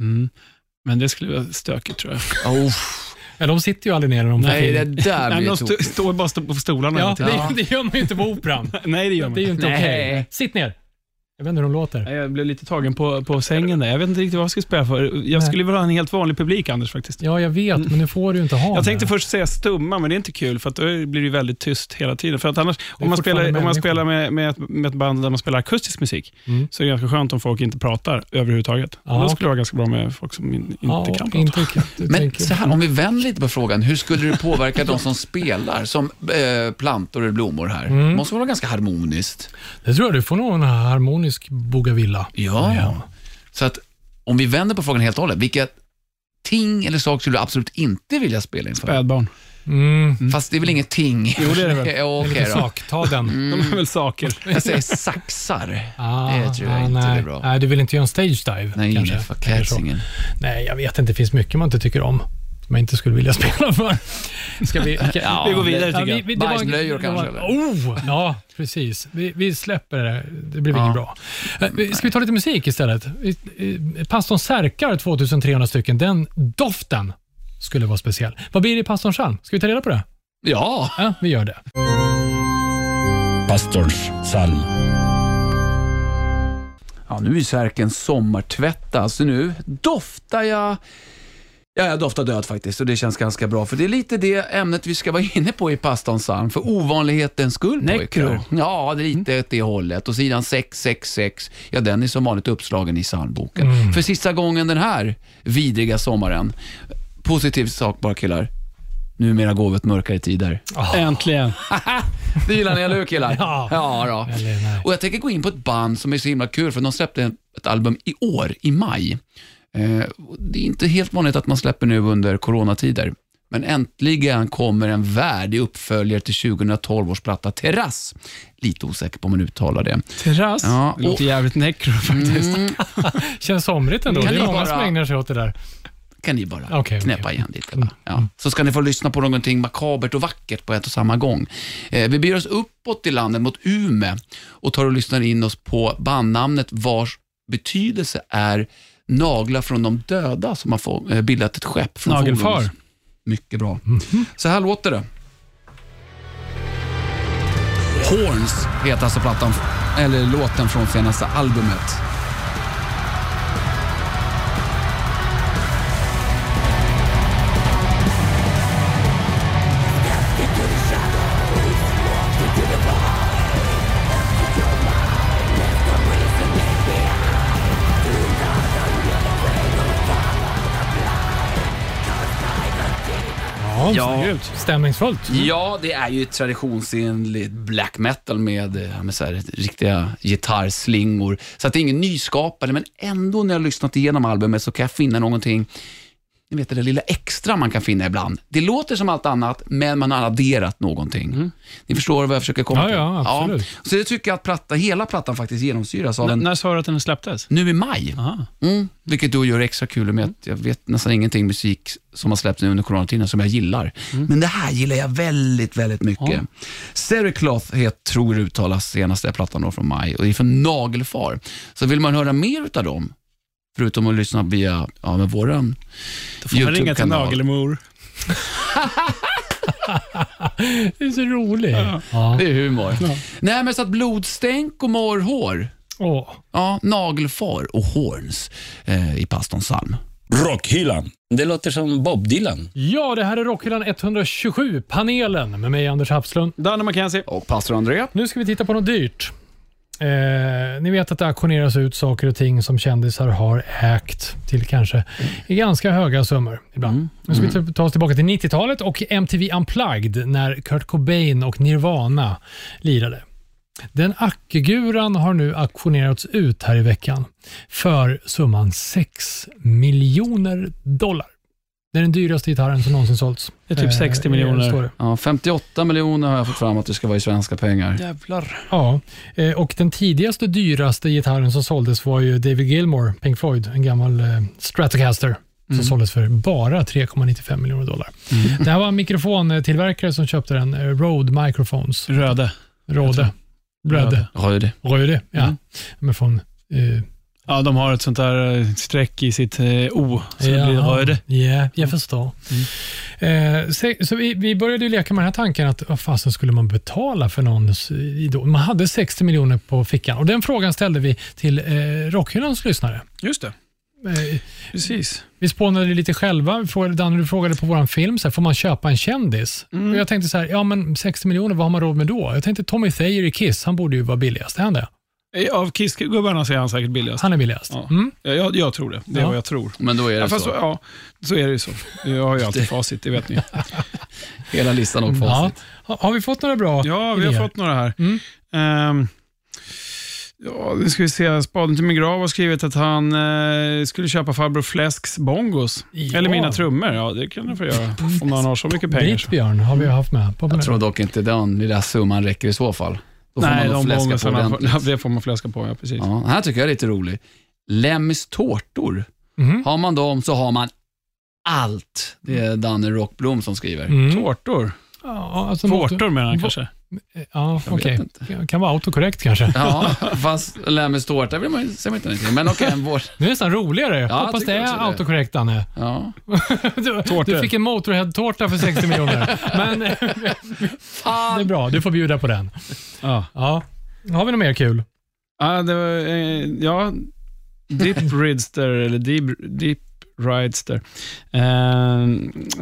S3: Mm. Men det skulle vara stökigt tror jag.
S2: Oh,
S4: Ja, de sitter ju aldrig ner när de får
S2: nej, det
S4: film.
S2: där
S3: Nej,
S2: blir
S3: men alltså,
S2: ju
S3: de
S2: tokigt.
S3: sto- står bara sto- på stolarna hela
S4: Ja,
S3: tiden.
S4: det, det gör man ju inte på operan.
S3: Nej, det gör man
S4: Det är ju
S3: inte.
S4: inte
S2: Nej.
S4: okej. Sitt ner. Jag vet inte hur de låter.
S3: Nej, Jag blev lite tagen på, på sängen där. Jag vet inte riktigt vad jag skulle spela för. Jag skulle vilja ha en helt vanlig publik, Anders, faktiskt.
S4: Ja, jag vet, men nu får du ju inte ha
S3: Jag
S4: det.
S3: tänkte först säga stumma, men det är inte kul, för att då blir det ju väldigt tyst hela tiden. För att annars, om man
S4: fortfarande
S3: spelar, om man
S4: människor.
S3: spelar med, med, ett, med ett band där man spelar akustisk musik,
S4: Mm.
S3: så är det ganska skönt om folk inte pratar överhuvudtaget.
S4: Ja.
S3: Då skulle det vara ganska bra med folk som in, inte
S4: ja,
S3: kan prata.
S4: inte kan. Du
S2: Men
S4: tänker-
S2: så här, om vi vänder lite på frågan, hur skulle det påverka de som spelar, som eh, plantor eller blommor här? Det måste vara ganska harmoniskt.
S4: Det tror jag, du får nog en harmonisk bogavilla.
S2: Ja. Så att om vi vänder på frågan helt och hållet, vilka ting eller saker skulle du absolut inte vilja spela inför?
S3: Spädbarn.
S4: Mm.
S2: Fast det är väl inget ting? Jo,
S3: det är det väl.
S2: Okej
S4: Vilken
S2: då. Mm.
S4: sak, ta den.
S3: De är väl saker.
S2: Jag säger saxar.
S4: Ah,
S2: Det tror jag
S4: ah,
S2: inte
S4: nej.
S2: är bra.
S4: Nej, du vill inte göra en stage dive
S2: Nej,
S4: kanske?
S2: nej, för
S4: Eller så.
S2: catsingen.
S4: Nej, jag vet inte. Det finns mycket man inte tycker om. Som jag inte skulle vilja spela för. Ska vi, okay.
S2: Ja,
S3: Vi går vidare tycker jag.
S4: det var-
S2: Bajsblöjor
S4: det var-
S2: kanske,
S4: Oh, ja, precis. Vi, vi släpper det. Det blir
S2: Ja.
S4: inget bra. Eh, vi- Ska vi ta lite musik istället? Vi- eh, Pastorn Särkar, 2300 stycken. Den doften skulle vara speciell. Vad blir det i Pastorns psalm? Ska vi ta reda på det?
S2: Ja,
S4: Ja, vi gör det.
S1: Pastorns psalm.
S2: Ja, nu är särken sommartvättad, så nu doftar jag... Ja, jag doftar död faktiskt och det känns ganska bra, för det är lite det ämnet vi ska vara inne på i pastans psalm, för ovanlighetens skull pojkar.
S3: Necro.
S2: Ja, det är lite åt det hållet. Och sidan 666, ja den är som vanligt uppslagen i psalmboken. För sista gången den här vidriga sommaren. Positiv sak bara killar. Numera går vi åt mörkare tider.
S3: Ah. Äntligen.
S2: Det gillar ni, eller hur killar?
S4: Ja.
S2: ja då.
S4: Eller nej.
S2: Och jag tänker gå in på ett band som är så himla kul, för de släppte ett album i år, i maj. Eh, och det är inte helt vanligt att man släpper nu under coronatider. Men äntligen kommer en värdig uppföljare till 2012 års platta Terrass. Lite osäker på om man uttalar det.
S3: Terrass.
S2: Ja,
S3: det låter
S2: och-
S3: jävligt necro faktiskt.
S4: Känns somrigt ändå.
S2: Kan
S4: Mm. det är
S2: ni
S4: många
S2: bara-
S4: som ägnar sig åt det där.
S2: kan ni bara
S4: Okej, okej, Mm,
S2: knäppa
S4: okej.
S2: igen lite. Va? Ja. Så ska ni få lyssna på någonting makabert och vackert på ett och samma gång. Eh, vi beger oss uppåt i landet mot Ume och tar och lyssnar in oss på bandnamnet vars betydelse är naglar från de döda som har få, eh, bildat ett skepp. Från
S3: Nagelfar.
S2: fordons. Mycket bra.
S4: Mhm.
S2: Så här låter det. Horns heter alltså plattan, eller låten från senaste albumet.
S4: Ja,
S3: Grymt.
S4: Stämningsfullt.
S2: Ja, det är ju traditionsenligt black metal med, eh, med så här, riktiga gitarrslingor. Så att det är ingen nyskapande, men ändå när jag har lyssnat igenom albumet så kan jag finna någonting, ni vet det där lilla extra man kan finna ibland. Det låter som allt annat, men man har adderat någonting. Ni förstår vad jag försöker komma
S4: Mm. Ja,
S2: till?
S4: ja, absolut.
S2: Så jag tycker att platta, hela plattan faktiskt genomsyras av
S3: N-
S2: en
S3: När sa du att den släpptes?
S2: nu i maj,
S3: Aha.
S2: mm, vilket då gör det extra kul med att jag vet nästan ingenting musik som har släppts nu under coronatiden som jag gillar. Men det här gillar jag väldigt, väldigt mycket. Mm. Ja. Sericloth het, tror jag uttalas senaste plattan då från maj och det är från Nagelfar. Så vill man höra mer utav dem, förutom att lyssna via ja, med våran
S3: Får man ringa till
S2: YouTube-kanal.
S3: Nagelmor?
S4: Det är så roligt. Ja.
S2: Det är humor. Nej, men så att blodstänk och morrhår.
S4: Åh.
S2: Ja, nagelfar och horns eh, i pastorns psalm.
S1: Rockhyllan. Det låter som Bob Dylan.
S4: Ja, det här är Rockhyllan 127, panelen med mig Anders Hafslund.
S3: Danne McKenzie.
S2: Och pastor André.
S4: Nu ska vi titta på något dyrt. Eh, ni vet att det auktioneras ut saker och ting som kändisar har ägt till kanske i ganska höga summor ibland.
S3: Mm.
S4: Nu ska vi ta- ta oss tillbaka till 90-talet och MTV Unplugged när Kurt Cobain och Nirvana lirade. Den ackiguran har nu auktionerats ut här i veckan för summan 6 miljoner dollar. Det är den dyraste gitarren som någonsin sålts. Eh,
S3: Det är typ 60 miljoner.
S4: står det.
S2: Ja, 58 miljoner har jag fått fram att det ska vara i svenska pengar.
S3: Jävlar.
S4: Ja, eh, och den tidigaste dyraste gitarren som såldes var ju David Gilmore, Pink Floyd, en gammal eh, Stratocaster som såldes för bara 3,95 miljoner dollar. Det här var en mikrofontillverkare som köpte den, eh, Rode Microphones.
S3: Röde.
S4: Rode. Rode.
S2: Röd.
S4: Röde, ja.
S3: Mm.
S4: Men från... Eh,
S3: Ja, de har ett sånt där eh, streck i sitt eh, O, så det blir
S4: jaha.
S3: röde.
S4: Ja, jag förstår. Eh, så så vi, vi började ju leka med den här tanken att vad fasen skulle man betala för någons eh, idol? Man hade 60 miljoner på fickan och den frågan ställde vi till eh, Rockhyllans lyssnare.
S3: Just det,
S4: Eh,
S3: precis.
S4: vi spånade lite själva. Vi frågade- Danne, du frågade på vår film, så här, får man köpa en kändis? Och jag tänkte så här, ja men 60 miljoner, vad har man råd med då? Jag tänkte Tommy Thayer i Kiss, han borde ju vara billigast. Är han det?
S3: Eh, Av Kiss-gubbarna så är han säkert billigast.
S4: Han är billigast.
S3: Ja.
S4: Mm.
S3: Ja, Jag, jag tror det. Det är
S4: Ja.
S3: vad jag tror.
S2: Men då är
S3: Ja,
S2: det
S3: fast,
S2: så.
S3: ja, så är det ju så. Jag har ju alltid facit, det vet ni.
S2: Hela listan och
S4: Ja.
S2: facit.
S4: Ha- Har vi fått några bra
S3: Ja, vi har
S4: idéer?
S3: fått några här.
S2: Mm.
S3: Ehm, ja, nu ska vi se. Spaden till min grav har skrivit att han eh, skulle köpa farbror Fläsks bongos.
S4: Ja.
S3: Eller mina trummor. Ja, det kan han få göra. om han har så mycket pengar. så.
S4: Britt-Björn har vi haft med. På
S2: Jag tror dock inte den lilla summan räcker i så fall. Då får
S3: Nej,
S2: man
S3: de
S2: nog fläska på
S3: bongosarna, får-
S2: ordentligt.
S3: ja, det får man fläska på. Ja, precis.
S2: Ja, den här tycker jag är lite rolig. Lemmys tårtor.
S4: Mhm.
S2: Har man dem så har man allt. Det är Danne Rockblom som skriver.
S4: Mm.
S3: Tårtor.
S4: Ja, alltså något-
S3: Tårtor menar han
S4: Va-
S3: kanske.
S4: Ja,
S2: Jag vet
S4: okej.
S2: inte.
S4: Kan vara autokorrekt kanske.
S2: Ja, fast Lemmys tårta vill man ju, säger man inte någonting. Men okej, en vår...
S4: Det är nästan roligare.
S2: jag
S4: Hoppas det
S2: tycker
S4: är
S2: också det.
S4: autokorrekt, Danne.
S2: Ja.
S4: Du,
S3: Tårtor.
S4: du fick en Motorhead-tårta för 60 miljoner. Men eh, det är bra, du får bjuda på den.
S3: Ja.
S4: Ja. Har vi något mer kul?
S3: Ja, det var, eh, ja. Deep Ridster, eller Deep, Deep Ridster. Eh,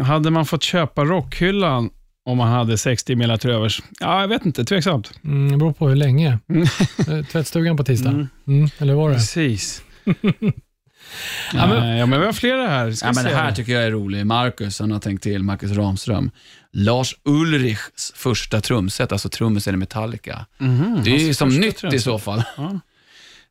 S3: hade man fått köpa rockhyllan om man hade 60 miljoner till övers? Ja, jag vet inte. Tveksamt.
S4: Mm, det beror på hur länge.
S2: Mm.
S4: Eh, Tvättstugan på tisdag. Mm.
S3: Mm.
S4: eller var det?
S3: Precis.
S4: Ja,
S3: ja,
S4: men-
S3: men, Eh, ja, men vi har flera här. Ska
S2: Ja,
S3: vi
S2: men det
S3: se.
S2: här tycker jag är rolig. Marcus, han har tänkt till, Marcus Ramström. Lars Ulrichs första trumset, alltså trummisen i Metallica. det är ju som nytt i så fall.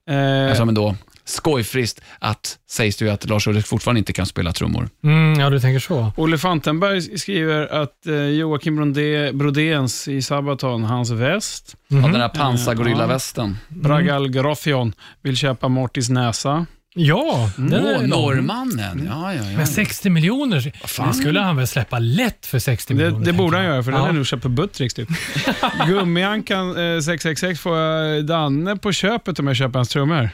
S3: Eh,
S2: Eftersom ändå, skojfrist att, sägs det ju att Lars Ulrich fortfarande inte kan spela trummor.
S4: Mm, ja, du tänker så.
S3: Olle Fantenberg skriver att eh, Joakim Brodé, Brodéns i Sabaton, hans väst,
S2: Ja,
S4: Mhm.
S2: den där pansargorillavästen.
S3: Bragal Grafion vill köpa Mortis näsa.
S4: Ja, den
S2: Åh,
S4: är
S2: norrmannen. Ja, ja, ja.
S4: Men 60 miljoner, det skulle han väl släppa lätt för 60
S3: Det,
S4: miljoner?
S3: det borde
S4: tänker
S3: han
S4: jag.
S3: göra, för den
S4: ja.
S3: är nog köpt på Buttricks typ. Gummiankan eh, 666 får jag Danne på köpet om jag köper hans trummor.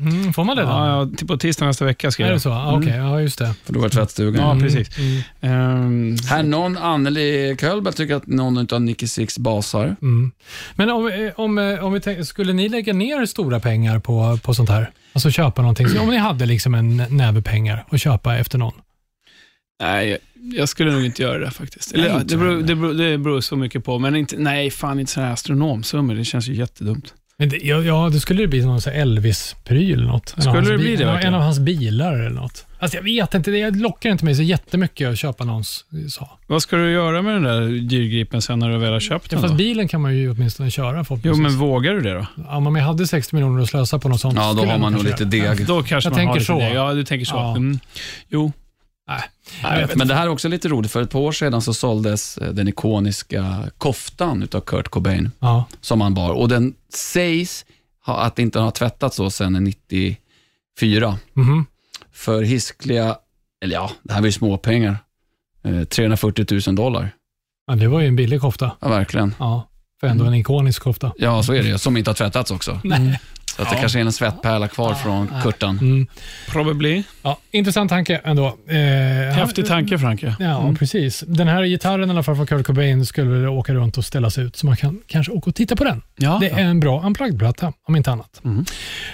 S4: Mm, får man det då?
S3: Ja, ja, till- på tisdag nästa vecka ska
S4: Är
S3: jag.
S4: det så? Ah, Okej, ja just det.
S2: För då var det tvättstugan.
S3: Ja, precis.
S4: Mm.
S3: Ehm,
S2: Här någon, Anneli Kölberg, tycker att någon av Nicky Six basar.
S4: Mm. Men om, eh, om, eh, om vi tänker, skulle ni lägga ner stora pengar på, på sånt här? Alltså köpa någonting. Så om ni hade liksom en näve pengar att köpa efter någon.
S3: nej, jag, jag skulle nog inte göra det faktiskt.
S2: Nej,
S3: Eller, ja,
S2: inte
S3: det, beror,
S2: heller.
S3: det, beror, det beror så mycket på, men inte, nej, fan inte sådana här astronomsummor. Det känns ju jättedumt.
S4: Men det, ja, ja, det skulle det bli någon sån här Elvis-pryl eller något. En av
S3: Skulle
S4: hans
S3: det bli
S4: bil-
S3: det
S4: en av-
S3: verkligen?
S4: En av hans bilar eller något. Alltså jag vet inte, det lockar inte mig så jättemycket att köpa någons. Så.
S3: Vad ska du göra med den där dyrgripen sen när du väl har köpt
S4: Ja,
S3: den?
S4: fast
S3: Då?
S4: bilen kan man ju åtminstone köra
S3: Jo,
S4: förhoppningsvis.
S3: men vågar du det då?
S4: Ja, men om jag hade 60 miljoner att slösa på något sånt.
S2: Ja, då
S4: skulle
S2: har
S4: jag
S2: man nog
S4: kanske
S2: lite
S4: göra.
S2: deg.
S3: Då kanske
S4: Jag
S3: man har
S4: tänker
S3: lite
S4: så.
S3: det. Ja, du tänker så.
S4: Ja.
S3: Mm. Jo.
S4: Jag vet
S2: Men det här är också lite roligt, för ett par år sedan så såldes eh, den ikoniska koftan utav Kurt Cobain
S4: Ja.
S2: som han bar och den sägs ha, att inte ha tvättats så sedan 94
S4: Mhm.
S2: för hiskliga, eller ja, det här var ju småpengar, eh, 340 000 dollar.
S4: ja, det var ju en billig kofta.
S2: Ja, verkligen.
S4: Ja, för ändå en ikonisk kofta.
S2: Ja, så är det ju, som inte har tvättats också.
S4: Nej.
S2: Så att det kanske är en svettpärla kvar från Kurtan.
S4: Mm.
S3: Probably.
S4: Ja, intressant tanke ändå. Eh,
S3: Häftig tanke, Franke.
S4: Ja, precis. Den här gitarren i alla fall från Kurt Cobain skulle väl åka runt och ställas ut, så man kan kanske åka och titta på den.
S3: Ja.
S4: Det är en bra unplugged-platta, om inte annat.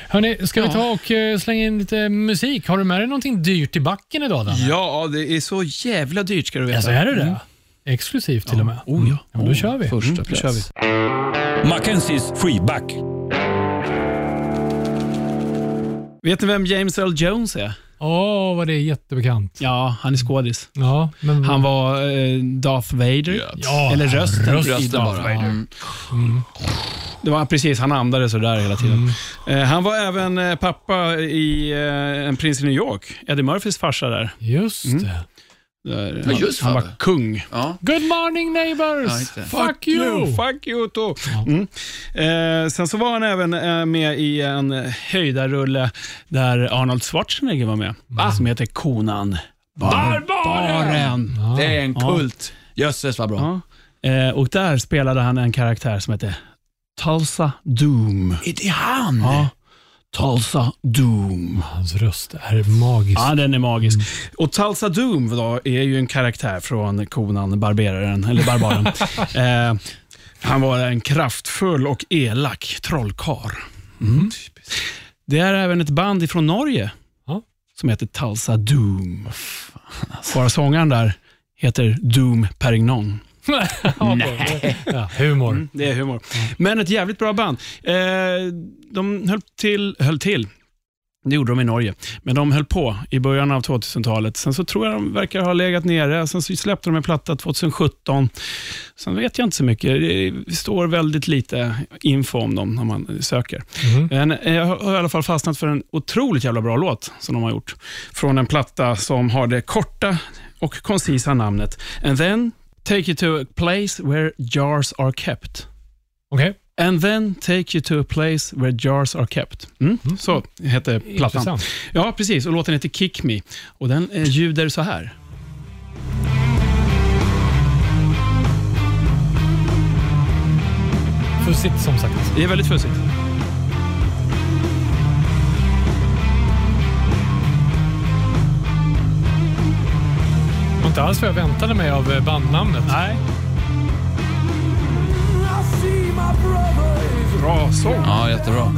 S4: Hörni, ska vi ta och eh, slänga in lite musik? Har du med dig någonting dyrt i backen idag, Danne?
S3: Ja, det är så jävla dyrt ska du veta.
S4: Alltså, är det det? Exklusivt till och med.
S3: Oh, ja.
S4: men då kör vi. Mm.
S2: Första
S3: Då
S2: plats.
S3: kör vi.
S1: Mackenzies Freeback.
S3: Vet ni vem James Earl Jones är?
S4: Åh, vad det är jättebekant.
S3: Ja, han är skådis.
S4: Ja, men...
S3: Han var eh, Darth Vader.
S4: Ja,
S3: Eller rösten, Mm.
S4: rösten
S3: i
S4: bara.
S3: Darth Vader. Det var precis, han andades sådär hela tiden. Eh, han var även eh, pappa i eh, En prins i New York. Eddie Murphys farsa där.
S4: Just det.
S3: där
S2: Ja,
S3: han,
S2: just
S3: han
S2: fan.
S3: var kung.
S2: Ja.
S4: Good morning
S2: Ja,
S4: neighbors!
S2: just det.
S4: Fuck you!
S3: Fuck you too. Mm. Eh, sen så var han även eh, med i en eh, höjdarrulle där Arnold Schwarzenegger var med. Som heter Konan. Barbaren!
S2: Det är en kult. Jösses vad bra.
S3: Ja. Eh, och där spelade han en karaktär som hette Tulsa Doom.
S2: Är det han?
S3: Ja. Tulsa Doom.
S4: Hans röst är magisk.
S3: Ja, den är magisk. Mm. Och Tulsa Doom då, är ju en karaktär från Konan Barberaren, eller Barbaren. eh, han var en kraftfull och elak trollkarl. Mm. Det är även ett band ifrån Norge
S4: Ja.
S3: som heter Tulsa Doom. Bara sångaren där heter Doom Perignon.
S4: Nej. Ja, humor.
S3: Mm, Det är humor. Men ett jävligt bra band. Eh, de höll till, höll till. Det gjorde de i Norge. Men de höll på i början av 2000-talet. Sen så tror jag de verkar ha legat nere. Sen så släppte de en platta 2017. Sen vet jag inte så mycket. Det står väldigt lite info om dem när man söker. Men eh, jag har i alla fall fastnat för en otroligt jävla bra låt som de har gjort. Från en platta som har det korta och koncisa namnet And then take you to a place where jars are kept.
S4: Okej,
S3: And then take you to a place where jars are kept. Mm? Så hette plattan.
S4: intressant.
S3: Ja, precis. Och låten heter Kick Me. Och den eh, ljuder så här.
S4: Fussigt som sagt.
S3: Det är väldigt fussigt.
S4: Det var inte alls vad jag väntade mig av eh, bandnamnet.
S3: Nej. Bra sång.
S2: Ja, jättebra.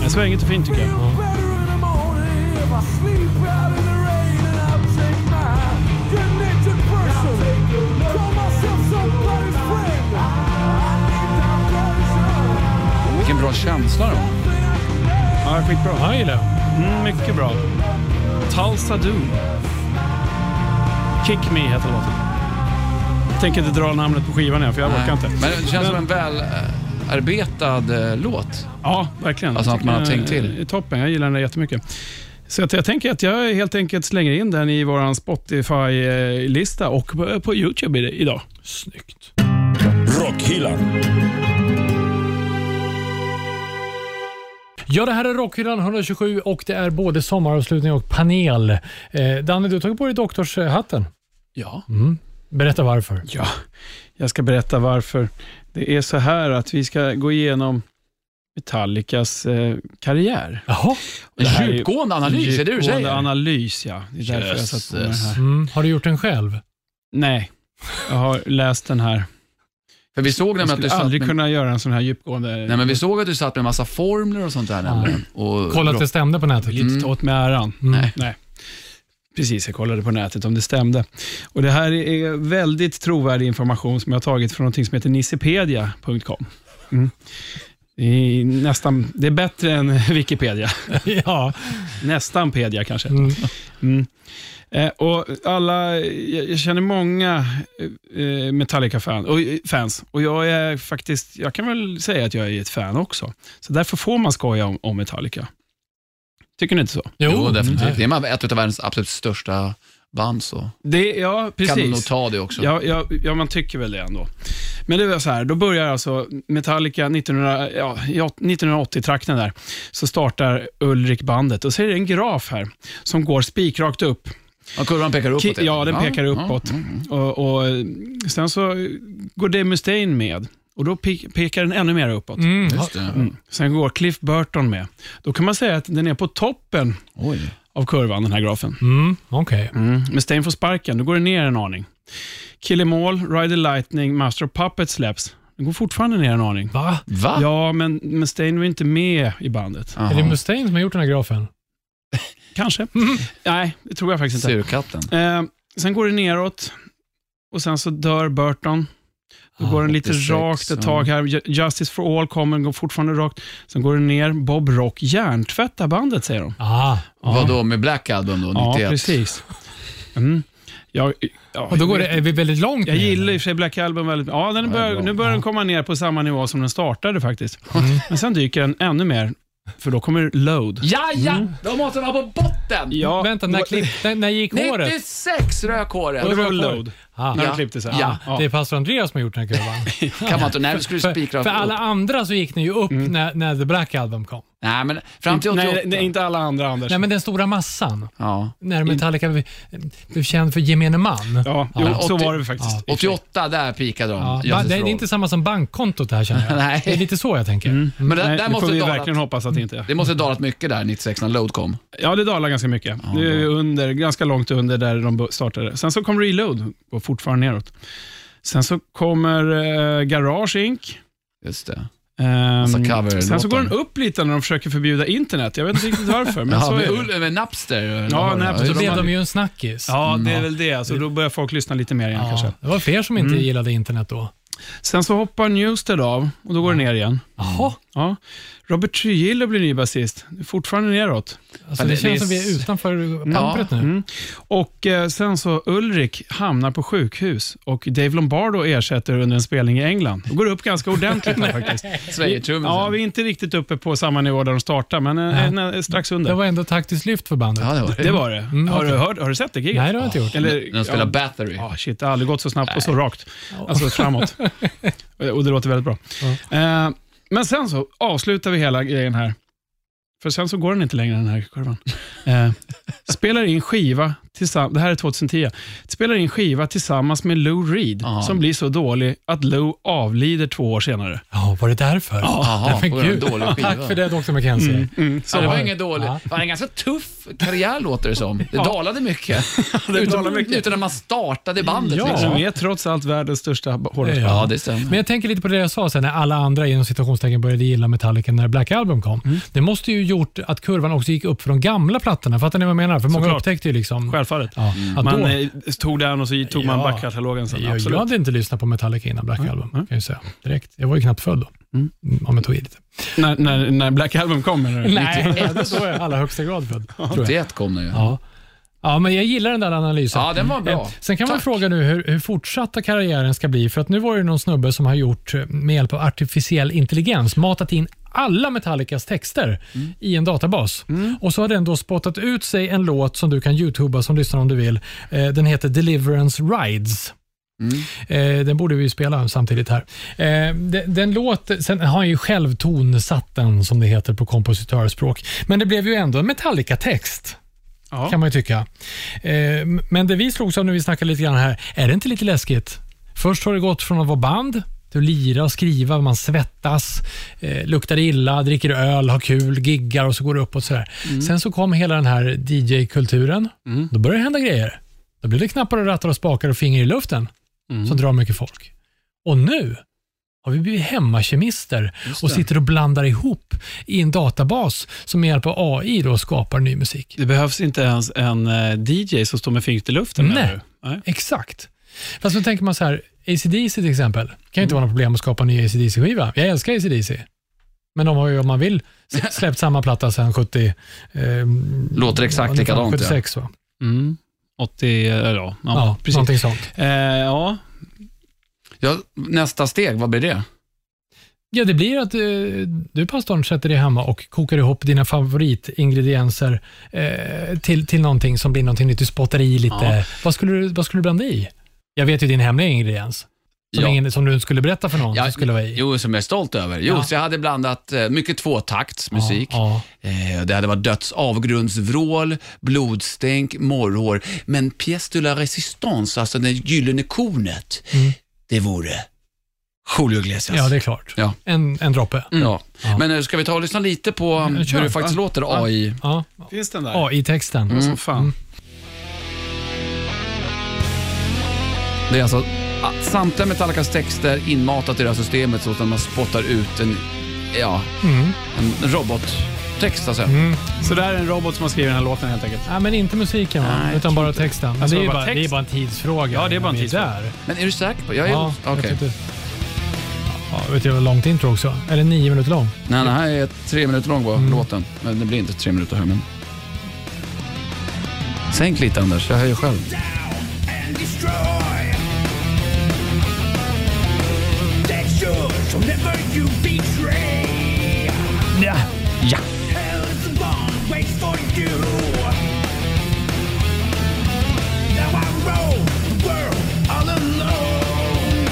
S3: Den svänger och fint tycker jag.
S2: Vilken bra känsla då.
S3: Ja, skitbra.
S4: Ja, jag gillar det.
S3: Mm, mycket bra. Tulsa Doom. Kick Me heter låten. Jag tänker inte dra namnet på skivan än, för jag orkar inte.
S2: Men det känns som en välarbetad eh, låt.
S3: Ja, verkligen.
S2: Alltså
S3: Jag
S2: att man har
S3: tycker
S2: tänkt
S3: den
S2: till.
S3: är Toppen, jag gillar den där jättemycket. Så att jag tänker att jag helt enkelt slänger in den i vår Spotify-lista och på- på YouTube i- idag.
S4: Snyggt.
S1: Rockhyllan.
S4: Ja, det här är Rockhyllan 127 och det är både sommaravslutning och panel. Eh, Danne, du har tagit på dig doktorshatten. Mm.
S2: Ja.
S4: Berätta varför.
S3: Ja, jag ska berätta varför. Det är så här att vi ska gå igenom Metallicas eh, karriär.
S4: Jaha.
S2: En
S3: här är ju-
S2: djupgående analys, är det du
S3: Djupgående
S2: säger?
S3: analys, ja. Det är därför jag satt på den här.
S2: Jösses.
S4: Mm. Har du gjort den själv?
S3: Nej, jag har läst den här.
S2: För vi såg
S3: Jag
S2: nämligen att du
S3: skulle
S2: satt
S3: aldrig
S2: med...
S3: kunna göra en sån här djupgående...
S2: Nej, men vi såg att du satt med massa formler och sånt där nämligen. Och
S4: Kolla att det stämde på nätet.
S3: vill inte ta åt mig äran.
S4: Mm.
S3: Mm.
S4: Nej.
S3: Nej. Precis, jag kollade på nätet om det stämde. Och Det här är väldigt trovärdig information som jag har tagit från någonting som heter nissipedia.com. Mm. Det, är nästan, det är bättre än Wikipedia.
S4: ja.
S3: Nästan Pedia kanske.
S4: Mm.
S3: Mm. Eh, och alla, jag, jag känner många eh, Metallica-fans. Och, eh, fans, och jag är faktiskt, jag kan väl säga att jag är ett fan också. Så därför får man skoja om, om Metallica. Tycker ni inte så?
S4: Jo,
S2: Jo, definitivt.
S3: Mm.
S4: Nej.
S2: Det är ett av världens absolut största band så
S3: Det, ja, precis.
S2: kan du nog ta det också.
S3: Ja, ja, ja, man tycker väl det ändå. Men det var så här, då börjar alltså Metallica 1900 ja, ja, 1980-trakten där, så startar Ulrik bandet och så är det en graf här som går spikrakt upp.
S2: Och kurvan pekar uppåt.
S3: Ki- ja, den
S2: helt enkelt.
S3: pekar uppåt. Och, och sen så går Dave Mustaine med och då pe- pekar den ännu mer uppåt.
S4: Mm.
S2: Just det.
S3: Sen går Cliff Burton med. Då kan man säga att den är på toppen
S2: Oj.
S3: av kurvan, den här grafen.
S4: Mm. Okej.
S3: Mm. Mustaine får sparken, då går det ner en aning. Kill Em All, Ride the Lightning, Master of Puppets släpps. Den går fortfarande ner en aning.
S4: Va?
S2: Va?
S3: Ja, men Mustaine var inte med i bandet.
S2: Jaha.
S4: Är det Mustaine som har gjort den här grafen? Mm.
S3: Kanske. Nej, det tror jag faktiskt inte.
S2: Surkatten.
S3: Eh, sen går det neråt. Och sen så dör Burton. Då
S4: Ah,
S3: går den lite
S2: 86,
S3: rakt ett tag här. Ju- Justice for All kommer, går fortfarande rakt. Sen går den ner. Bob Rock hjärntvättar bandet, säger de.
S4: Ah,
S2: Vad då med Black Album då, 91?
S3: Ja, precis. Mm. Jag, ja,
S4: och då går det, är vi väldigt långt
S3: Jag
S4: ner.
S3: gillar i och för sig Black Album väldigt Ja,
S2: det
S3: den
S2: är
S3: bör,
S2: bra.
S3: nu börjar den komma ner på samma nivå som den startade faktiskt. Men sen dyker den ännu mer, för då kommer Load.
S2: Ja, ja!
S3: Mm.
S2: Då måste vara på botten!
S3: Ja,
S4: Vänta, när, klipp, när, när gick håret?
S2: 96 rök håret.
S3: det var Load.
S4: Ah,
S3: När
S2: Ja.
S3: de klippte sig.
S2: Ja.
S4: Det är pastor Andreas som har gjort den här kurvan.
S2: Kan man inte, nej, vi skulle spikra
S4: För, för alla
S2: upp.
S4: andra så gick den ju upp när, när The Black Album kom.
S2: Nej, men fram till 88.
S3: Nej, det är inte alla andra Anders.
S4: Nej, men den stora massan.
S2: Ja.
S4: När Metallica blev- blev känd för gemene man.
S3: Ja, jo, Mm.
S2: Ja.
S3: så
S2: 80
S3: var det faktiskt.
S2: 88, där pikade de.
S4: Ja,
S2: Justice
S4: det
S2: for
S4: är
S2: All.
S4: inte samma som bankkontot det här känner jag.
S2: Nej.
S4: Det är lite så jag tänker. Mm.
S2: Men där,
S3: Nej,
S2: där
S3: det får
S2: måste
S3: vi
S2: dalat, Mm.
S3: verkligen hoppas att det inte är.
S2: det måste dalat mycket där 96 när Load kom.
S3: Ja, det dalar ganska mycket. Det är ju under, ganska långt under där de bo- startade. Sen så kom Reload, går fortfarande neråt. Sen så kommer eh, Garage Inc.
S2: Just det.
S3: Ehm,
S2: Massa cover-låtar.
S3: sen så går den upp lite när de försöker förbjuda internet. Jag vet inte riktigt varför. men
S2: ja,
S3: så är
S2: med,
S3: det.
S2: Ull- med Napster. eller
S3: Ja,
S2: vad var det?
S3: Napster.
S4: Då
S2: Just det.
S4: blev
S3: hade-
S4: de ju en snackis.
S3: Ja, det är väl det. Så då börjar folk lyssna lite mer igen
S4: Ja,
S3: kanske.
S4: det var fler som inte gillade internet då.
S3: Sen så hoppar Newsted av och då går det ner igen.
S4: Jaha,
S3: Ja. Robert Trujillo blir ny basist. Fortfarande neråt.
S4: alltså,
S2: Men
S4: det,
S2: det- det är
S4: känns som vi är
S2: s-
S4: utanför pampret nu.
S3: Och eh, sen så Ulrik hamnar på sjukhus och Dave Lombardo ersätter under en spelning i England. Då går det upp ganska ordentligt där faktiskt.
S2: Svejertrummisen.
S3: Ja, vi är inte riktigt uppe på samma nivå där de startar, men eh, en, eh, strax under.
S4: Det var ändå taktiskt lyft för bandet.
S2: Ja, det var det.
S3: Det var det. har, du
S4: okej.
S3: hört, har du sett det giget?
S4: Nej, det har jag inte gjort.
S3: Eller,
S2: Den spelar
S3: ja,
S2: Battery.
S3: Ja, Ah, shit, det har aldrig gått så snabbt och så rakt. Alltså framåt. och det låter väldigt bra. Eh, men sen så avslutar vi hela grejen här. För sen så går den inte längre den här kurvan. Eh, spelar in skiva, tillsamm- det här är 2010, spelar in skiva tillsammans med Lou Reed
S2: Ja.
S3: som blir så dålig att Lou avlider två år senare.
S4: Ja, var det därför?
S2: Jaha,
S4: men
S2: var det en
S4: gud.
S2: dålig skiva? mm.
S4: Tack för det Dr. McKenzie.
S2: Ja, det var ingen dålig.
S4: Ja.
S2: Det var en ganska tuff karriär låter det som. Det dalade mycket. utan,
S3: dalade mycket.
S2: utan när man startade bandet.
S4: Ja.
S3: Som
S2: Liksom.
S3: är trots allt världens största hårdrocksband.
S2: Ja, det stämmer.
S4: Men jag tänker lite på det jag sa sen när alla andra inom citationstecken började gilla Metallica när Black Album kom. Det måste ju gjort att kurvan också gick upp för de gamla plattorna. Fattar ni vad jag menar? För många
S3: Såklart.
S4: upptäckte ju liksom...
S3: Självfallet.
S4: Ja, att
S3: Man
S4: då,
S3: eh, tog den och så tog man
S4: Ja.
S3: backkatalogen sen.
S4: jag,
S3: Absolut.
S4: jag hade inte lyssnat på Metallica innan Black Album, kan jag ju säga. Direkt. Jag var ju knappt född då. Mm, Om jag tog i lite.
S3: När, när, när Black Album kom, menar du?
S4: Nej, då är jag i allra högsta grad född. Tror jag.
S2: Det kom nu. Ja,
S4: Ja. ja, men jag gillar den där analysen.
S2: ja den var bra.
S4: Eh, Sen kan man
S2: Tack.
S4: fråga nu hur, hur fortsatta karriären ska bli. För att nu var det någon snubbe som har gjort eh, med hjälp av artificiell intelligens matat in alla Metallicas texter
S2: Mm.
S4: i en databas. Och så har den då spottat ut sig en låt som du kan youtuba som lyssnar om du vill. Eh, Den heter Deliverance Rides.
S2: Mm.
S4: Eh, Den borde vi ju spela samtidigt här. Eh, de- Den låt, sen har han ju själv tonsatt den som det heter på kompositörspråk. Men det blev ju ändå en Metallica-text
S3: Ja.
S4: kan man ju tycka. Eh, m- Men det vi slogs av när vi snackade lite grann här, är det inte lite läskigt? Först har det gått från att vara band, till att lira och skriva, man svettas, eh, luktar illa, dricker öl, har kul, giggar och så går det uppåt. Sådär. Sen så kom hela den här DJ-kulturen. Då började det hända grejer. Då blev det knappar och rattar och spakar och fingrar i luften som drar mycket folk. Och nu har vi blivit hemmakemister och sitter och blandar ihop i en databas som med hjälp av AI då skapar ny musik.
S3: Det behövs inte ens en eh, DJ som står med fingret i luften.
S4: Nej.
S3: menar du? Nej.
S4: Exakt. Fast då tänker man så här, ACDC till exempel, kan ju
S2: Mm.
S4: inte vara något problem att skapa en ny ACDC-skiva. Jag älskar ACDC. Men de har ju, om man vill, s- släppt samma platta sedan 70... ehm,
S2: Låter exakt likadant, ja.
S4: 76 va?
S3: Mm. 80, eh, ja, ja,
S4: Ja,
S3: precis.
S4: någonting sånt.
S3: Eh, ja.
S2: Ja, nästa steg, vad blir det?
S4: Ja, det blir att eh, du pastorn sätter dig hemma och kokar ihop dina favoritingredienser eh, till, till någonting som blir någonting nytt. Du spottar i lite.
S2: Ja.
S4: Vad, skulle du, vad skulle du blanda i? Jag vet ju din hemliga ingrediens. Som,
S2: Ja.
S4: ingen, som du inte skulle berätta för någon
S2: Ja,
S4: som skulle vara i.
S2: Jo, som jag är stolt över. Jo, så jag hade blandat eh, mycket tvåtaktsmusik.
S4: Ja,
S2: Eh, Det hade varit dödsavgrundsvrål, blodstänk, morrhår. Men pièce de la résistance, alltså det gyllene kornet, det vore Julio Iglesias.
S4: Mm. ja, det är klart.
S2: Ja.
S4: En, en droppe.
S3: Mm.
S2: Ja. Men eh, ska vi ta och lyssna lite på eh,
S4: kör.
S2: hur det faktiskt låter, AI?
S4: Ja,
S3: Finns den där?
S4: ja Mm. i texten.
S3: Som fan.
S2: Det är alltså ah, samtliga Metallicas texter
S4: Mm.
S2: inmatat i det här systemet så att man spottar ut en, ja, en robot. text alltså.
S3: Så det här är en robot som har skrivit den här låten helt enkelt.
S4: Nej, men inte musiken, va?
S2: Nej, jag
S4: utan bara texten. Men det, är
S3: det
S4: ju
S3: var
S4: bara,
S3: text.
S4: det är bara en tidsfråga.
S3: Ja, det är bara
S4: innan
S3: en
S4: vi
S3: tidsfråga.
S4: där.
S2: Men är du säker på? Jag är,
S4: Ja, jag
S2: okej.
S4: tyckte- Ja, vet du, det var långt intro också. Eller nio minuter lång.
S2: Nej, den här är tre minuter lång var låten. Men det blir inte tre minuter här men... Sänk lite Anders, jag höjer själv.
S5: and destroy. That's yours, so never you betray.
S4: Ja.
S2: Ja!
S5: Hell is the bond, waits for you. Now I roll the world all alone.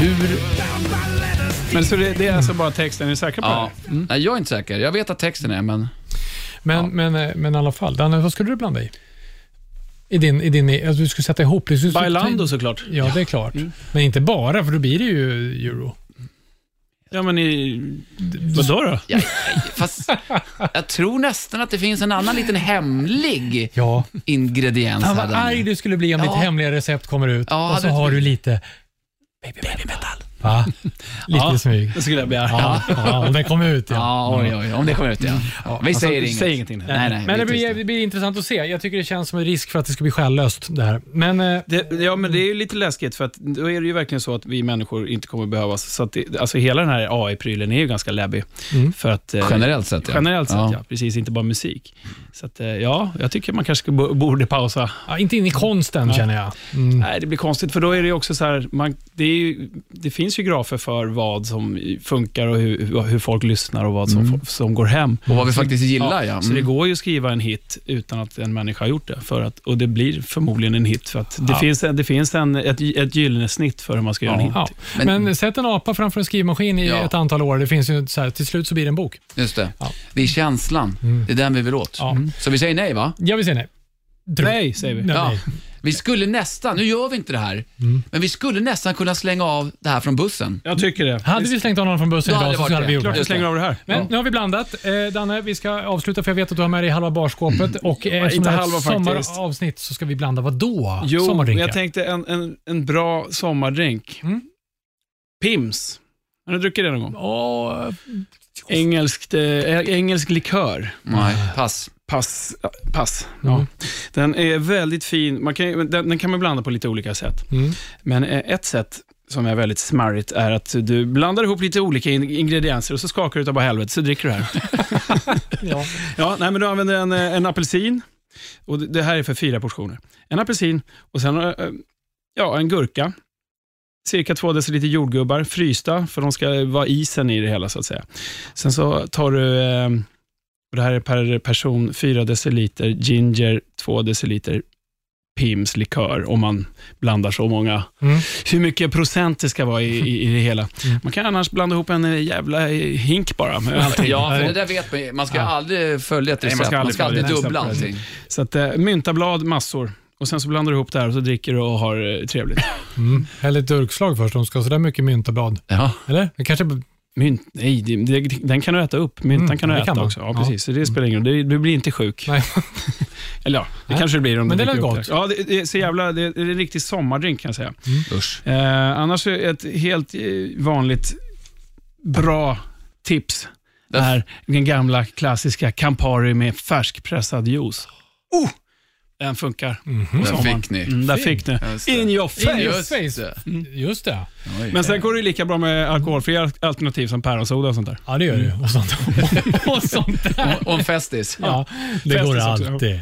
S2: Hur...
S5: Bound by letters.
S3: Men så det, det är alltså bara texten, är ni säkra på
S2: Ja.
S3: det?
S2: Nej, jag är inte säker. Jag vet att texten är, men...
S4: Men, men, eh, men i alla fall, Danne, vad skulle du blanda i? I din, i din alltså, du skulle sätta ihop det. Du skulle-
S3: Bailando Mm. såklart.
S4: Ja, det är klart. Men inte bara, för då blir det ju euro.
S3: Ja, men i... Vadå då?
S2: Ja, fast jag tror nästan att det finns en annan liten hemlig
S4: Ja.
S2: ingrediens
S4: Fan
S2: här.
S4: vad
S2: Danne.
S4: arg du skulle bli om ditt
S2: Ja.
S4: hemliga recept kommer ut
S2: Ja,
S4: och så
S2: det-
S4: har du lite baby metal. Va? Lite
S3: Ja.
S4: i smyg.
S3: Då skulle jag bli arg.
S4: Ja, ja, om den kommer ut. Ja.
S2: Ja, oj, oj, om det kommer ut, ja. ja vi säger inget.
S3: Säg ingenting.
S2: Nej, nej, vi
S4: Men det
S2: är tysta.
S4: blir, det blir intressant att se. Jag tycker det känns som en risk för att det ska bli själlöst det här. Men eh,
S3: Det, ja, men det är ju lite läskigt för att då är det ju verkligen så att vi människor inte kommer behövas. Så att det, alltså hela den här AI-prylen är ju ganska läbbig.
S4: Mm.
S3: För att, eh,
S2: Generellt sett, ja.
S3: generellt sett, ja.
S2: Ja.
S3: Precis, inte bara musik. Så att, eh, ja, jag tycker man kanske bo- borde pausa.
S4: ja, inte in i konsten känner jag. Mm.
S3: Nej, det blir konstigt för då är det ju också så här, man, det, är ju, det finns ju grafer för vad som funkar och hur, hur folk lyssnar och vad som, som går hem.
S2: Och vad vi faktiskt gillar, ja.
S3: Så det
S2: Mm.
S3: går ju att skriva en hit utan att en människa har gjort det. För att, och det blir förmodligen en hit. För att det finns, en- det finns en, ett, ett gyllene snitt för hur man ska göra en hit.
S4: Ja. Men, sätt en apa framför en skrivmaskin i
S2: Ja.
S4: ett antal år. Det finns ju så här, till slut så blir det en bok.
S2: Just det.
S4: Ja.
S2: Det är känslan. Det är den vi vill åt.
S4: Ja.
S2: Mm. Så vi säger nej, va?
S4: Jag vill säga nej. Tror-
S3: Nej, säger vi.
S4: Nej,
S2: Ja.
S4: nej.
S2: Vi skulle nästan, nu gör vi inte det här, men vi skulle nästan kunna slänga av det här från bussen.
S3: Jag tycker det.
S4: Hade vi slängt honom från bussen
S2: Då hade
S4: idag
S2: det
S4: så
S2: varit
S4: hade vi
S2: det.
S4: gjort
S3: Klart
S4: det.
S3: vi slänger av det här.
S4: Men nu har vi blandat. Eh, Danne, vi ska avsluta för jag vet att du har med dig halva barskåpet. Och eh, eftersom
S3: Mm. inte
S4: det här är
S3: halva
S4: ett
S3: faktiskt.
S4: sommaravsnitt så ska vi blanda vad då?
S3: Jo, men
S4: Sommardrinkar?
S3: jag tänkte en, en, en bra sommardrink.
S4: Mm.
S3: Pims. Har ni druckit det någon gång?
S4: Åh,
S3: Engelskt, eh, engelsk likör.
S2: Nej, pass.
S3: Pass. ja, Pass.
S4: Mm.
S3: Ja. Den är väldigt fin. Man kan, den, den kan man blanda på lite olika sätt.
S4: Mm.
S3: Men eh, ett sätt som är väldigt smarrigt är att du blandar ihop lite olika in- ingredienser och så skakar du utav bara helvete, så dricker du det här.
S4: ja.
S3: ja, nej, men du använder en, eh, en apelsin, och det- det här är för fyra portioner. En apelsin och sen eh, eh, ja, en gurka, cirka två deciliter jordgubbar, frysta, för de ska vara isen i det hela så att säga. Sen så tar du, eh, och det här är per person, fyra deciliter ginger, två deciliter Pims likör, om man blandar så många
S4: Mm.
S3: hur mycket procent det ska vara i, i, i det hela. Man kan annars blanda ihop en eh, jävla eh, hink bara med allting.
S2: Ja, för det där vet man ju. Man ska aldrig följa ett
S3: Nej,
S2: recept. man ska aldrig,
S3: följa ett
S2: dubbla
S3: recept.
S2: allting.
S3: Så att, eh, myntablad, massor. Och Sen så blandar du ihop det här och så dricker du och har eh, trevligt.
S4: Mm. Häll ett durkslag först om du ska ha sådär mycket myntablad.
S2: Ja.
S4: Eller? Det kanske...
S3: Mm. Mynt, nej, det, det, den kan du äta upp. Myntan
S4: Mm,
S3: kan du
S4: det
S3: äta
S4: kan man.
S3: också. Ja,
S4: Ja. Mm.
S3: precis. Så det spelar ingen roll. Du, du blir inte sjuk.
S4: Nej.
S3: Eller ja, det
S4: Nej.
S3: kanske du blir om
S4: Men
S3: du
S4: det
S3: dricker
S4: lät
S3: upp
S4: gott.
S3: det. Ja, det, det, är så jävla, det, det är en riktig sommardrink kan jag säga.
S2: Usch.
S3: Eh, annars är ett helt eh, vanligt bra tips är den gamla klassiska Campari med färskpressad juice. Oh! Den funkar. på
S2: Där
S3: sommaren.
S2: fick ni.
S3: Mm, där fick ni.
S2: Just det.
S3: In your
S4: In
S3: face!
S4: your
S2: Just
S4: face.
S2: det.
S4: Just det.
S2: Oj.
S3: Men sen går det lika bra med alkoholfria al- alternativ som päronsoda och sånt där.
S4: Ja, det gör det. Och sånt, och sånt där.
S2: Och- Och en festis.
S4: Ja, det
S3: Festis
S4: går
S3: också,
S4: alltid.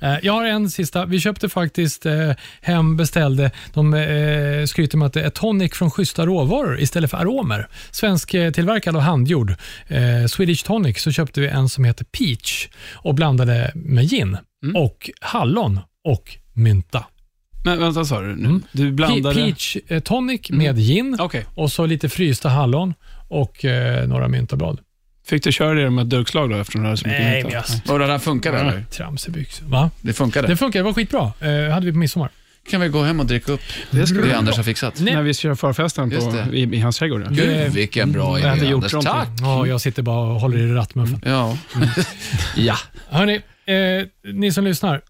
S4: Eh, Jag har en sista. Vi köpte faktiskt eh, hem, beställde. De eh, skryter med att det är tonic från schyssta råvaror istället för aromer. Svensk eh, tillverkad och handgjord. Eh, Swedish tonic så köpte vi en som heter Peach och blandade med gin och hallon och mynta.
S3: Men vänta, sa du nu? Du
S4: Pe-
S3: blandade...
S4: Peach eh, tonic med gin
S3: Okej.
S4: och så lite frysta hallon och eh, några myntablad.
S3: Fick du köra det med ett durkslag då eftersom du hade så mycket
S4: Nej,
S3: nytta?
S4: men jag
S2: Och det där funkar väl? eller?
S4: trams i byxor. Va?
S2: Det funkade.
S4: Det funkar, det var skitbra. Eh, hade vi på midsommar.
S2: kan vi gå hem och dricka upp det,
S3: skulle vi
S2: Anders har fixat.
S4: Nej.
S3: När vi kör förfesten
S2: Just
S3: på,
S2: det.
S3: i, i hans trädgård. ja.
S2: Gud, vilken bra idé
S3: hade gjort
S2: Anders.
S3: någonting.
S2: Tack!
S4: Ja, jag sitter bara och håller i rattmuffen.
S2: Ja. ja.
S4: Hörni, eh, ni som lyssnar.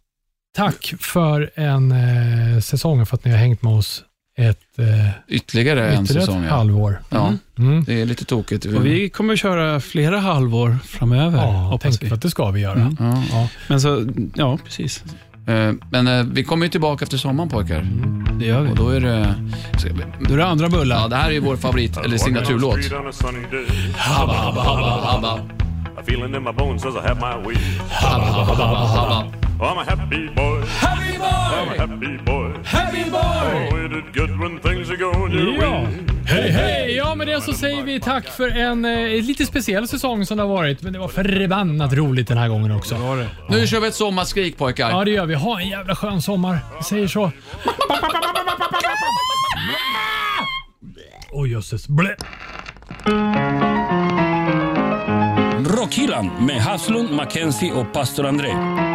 S4: Tack för en eh, säsong och för att ni har hängt med oss ett, eh,
S2: Ytterligare en
S4: ytterligare
S2: säsong.
S4: ett
S2: Ja.
S4: halvår.
S2: Ja,
S4: Mm.
S2: det är lite tokigt.
S3: Och vi kommer köra flera halvår framöver,
S4: Ja,
S3: hoppas
S4: tänk
S3: vi.
S4: för att det ska vi göra.
S2: Mm. Ja.
S3: Men så, ja, precis.
S2: Eh, Men eh, vi kommer ju tillbaka efter sommaren pojkar.
S3: Det gör vi.
S2: Och då är det... Ska vi-
S3: Då är det andra
S2: Ja,
S3: bullar.
S2: det här är ju vår favorit, eller
S6: Walking down the
S2: signaturlåt.
S6: street on a sunny day.
S2: Habba, habba, habba, habba,
S6: A feeling in my bones says I have my way.
S2: habba, habba, habba.
S6: Oh, I'm a happy boy. Happy boy. I'm a happy boy. Happy boy. Oh, it is good when things are going your
S4: Ja.
S6: way.
S4: Hej, hej! Ja, med det så säger vi tack för en eh, lite speciell säsong som det har varit. Men det var förbannat roligt den här gången också.
S2: Nu kör vi ett sommarskrik pojkar.
S4: Ja, det gör vi. Ha en jävla skön sommar. Vi säger så. Oj, jösses. Blä.
S1: Rockhyllan med Haslund, Mackenzie och pastor André.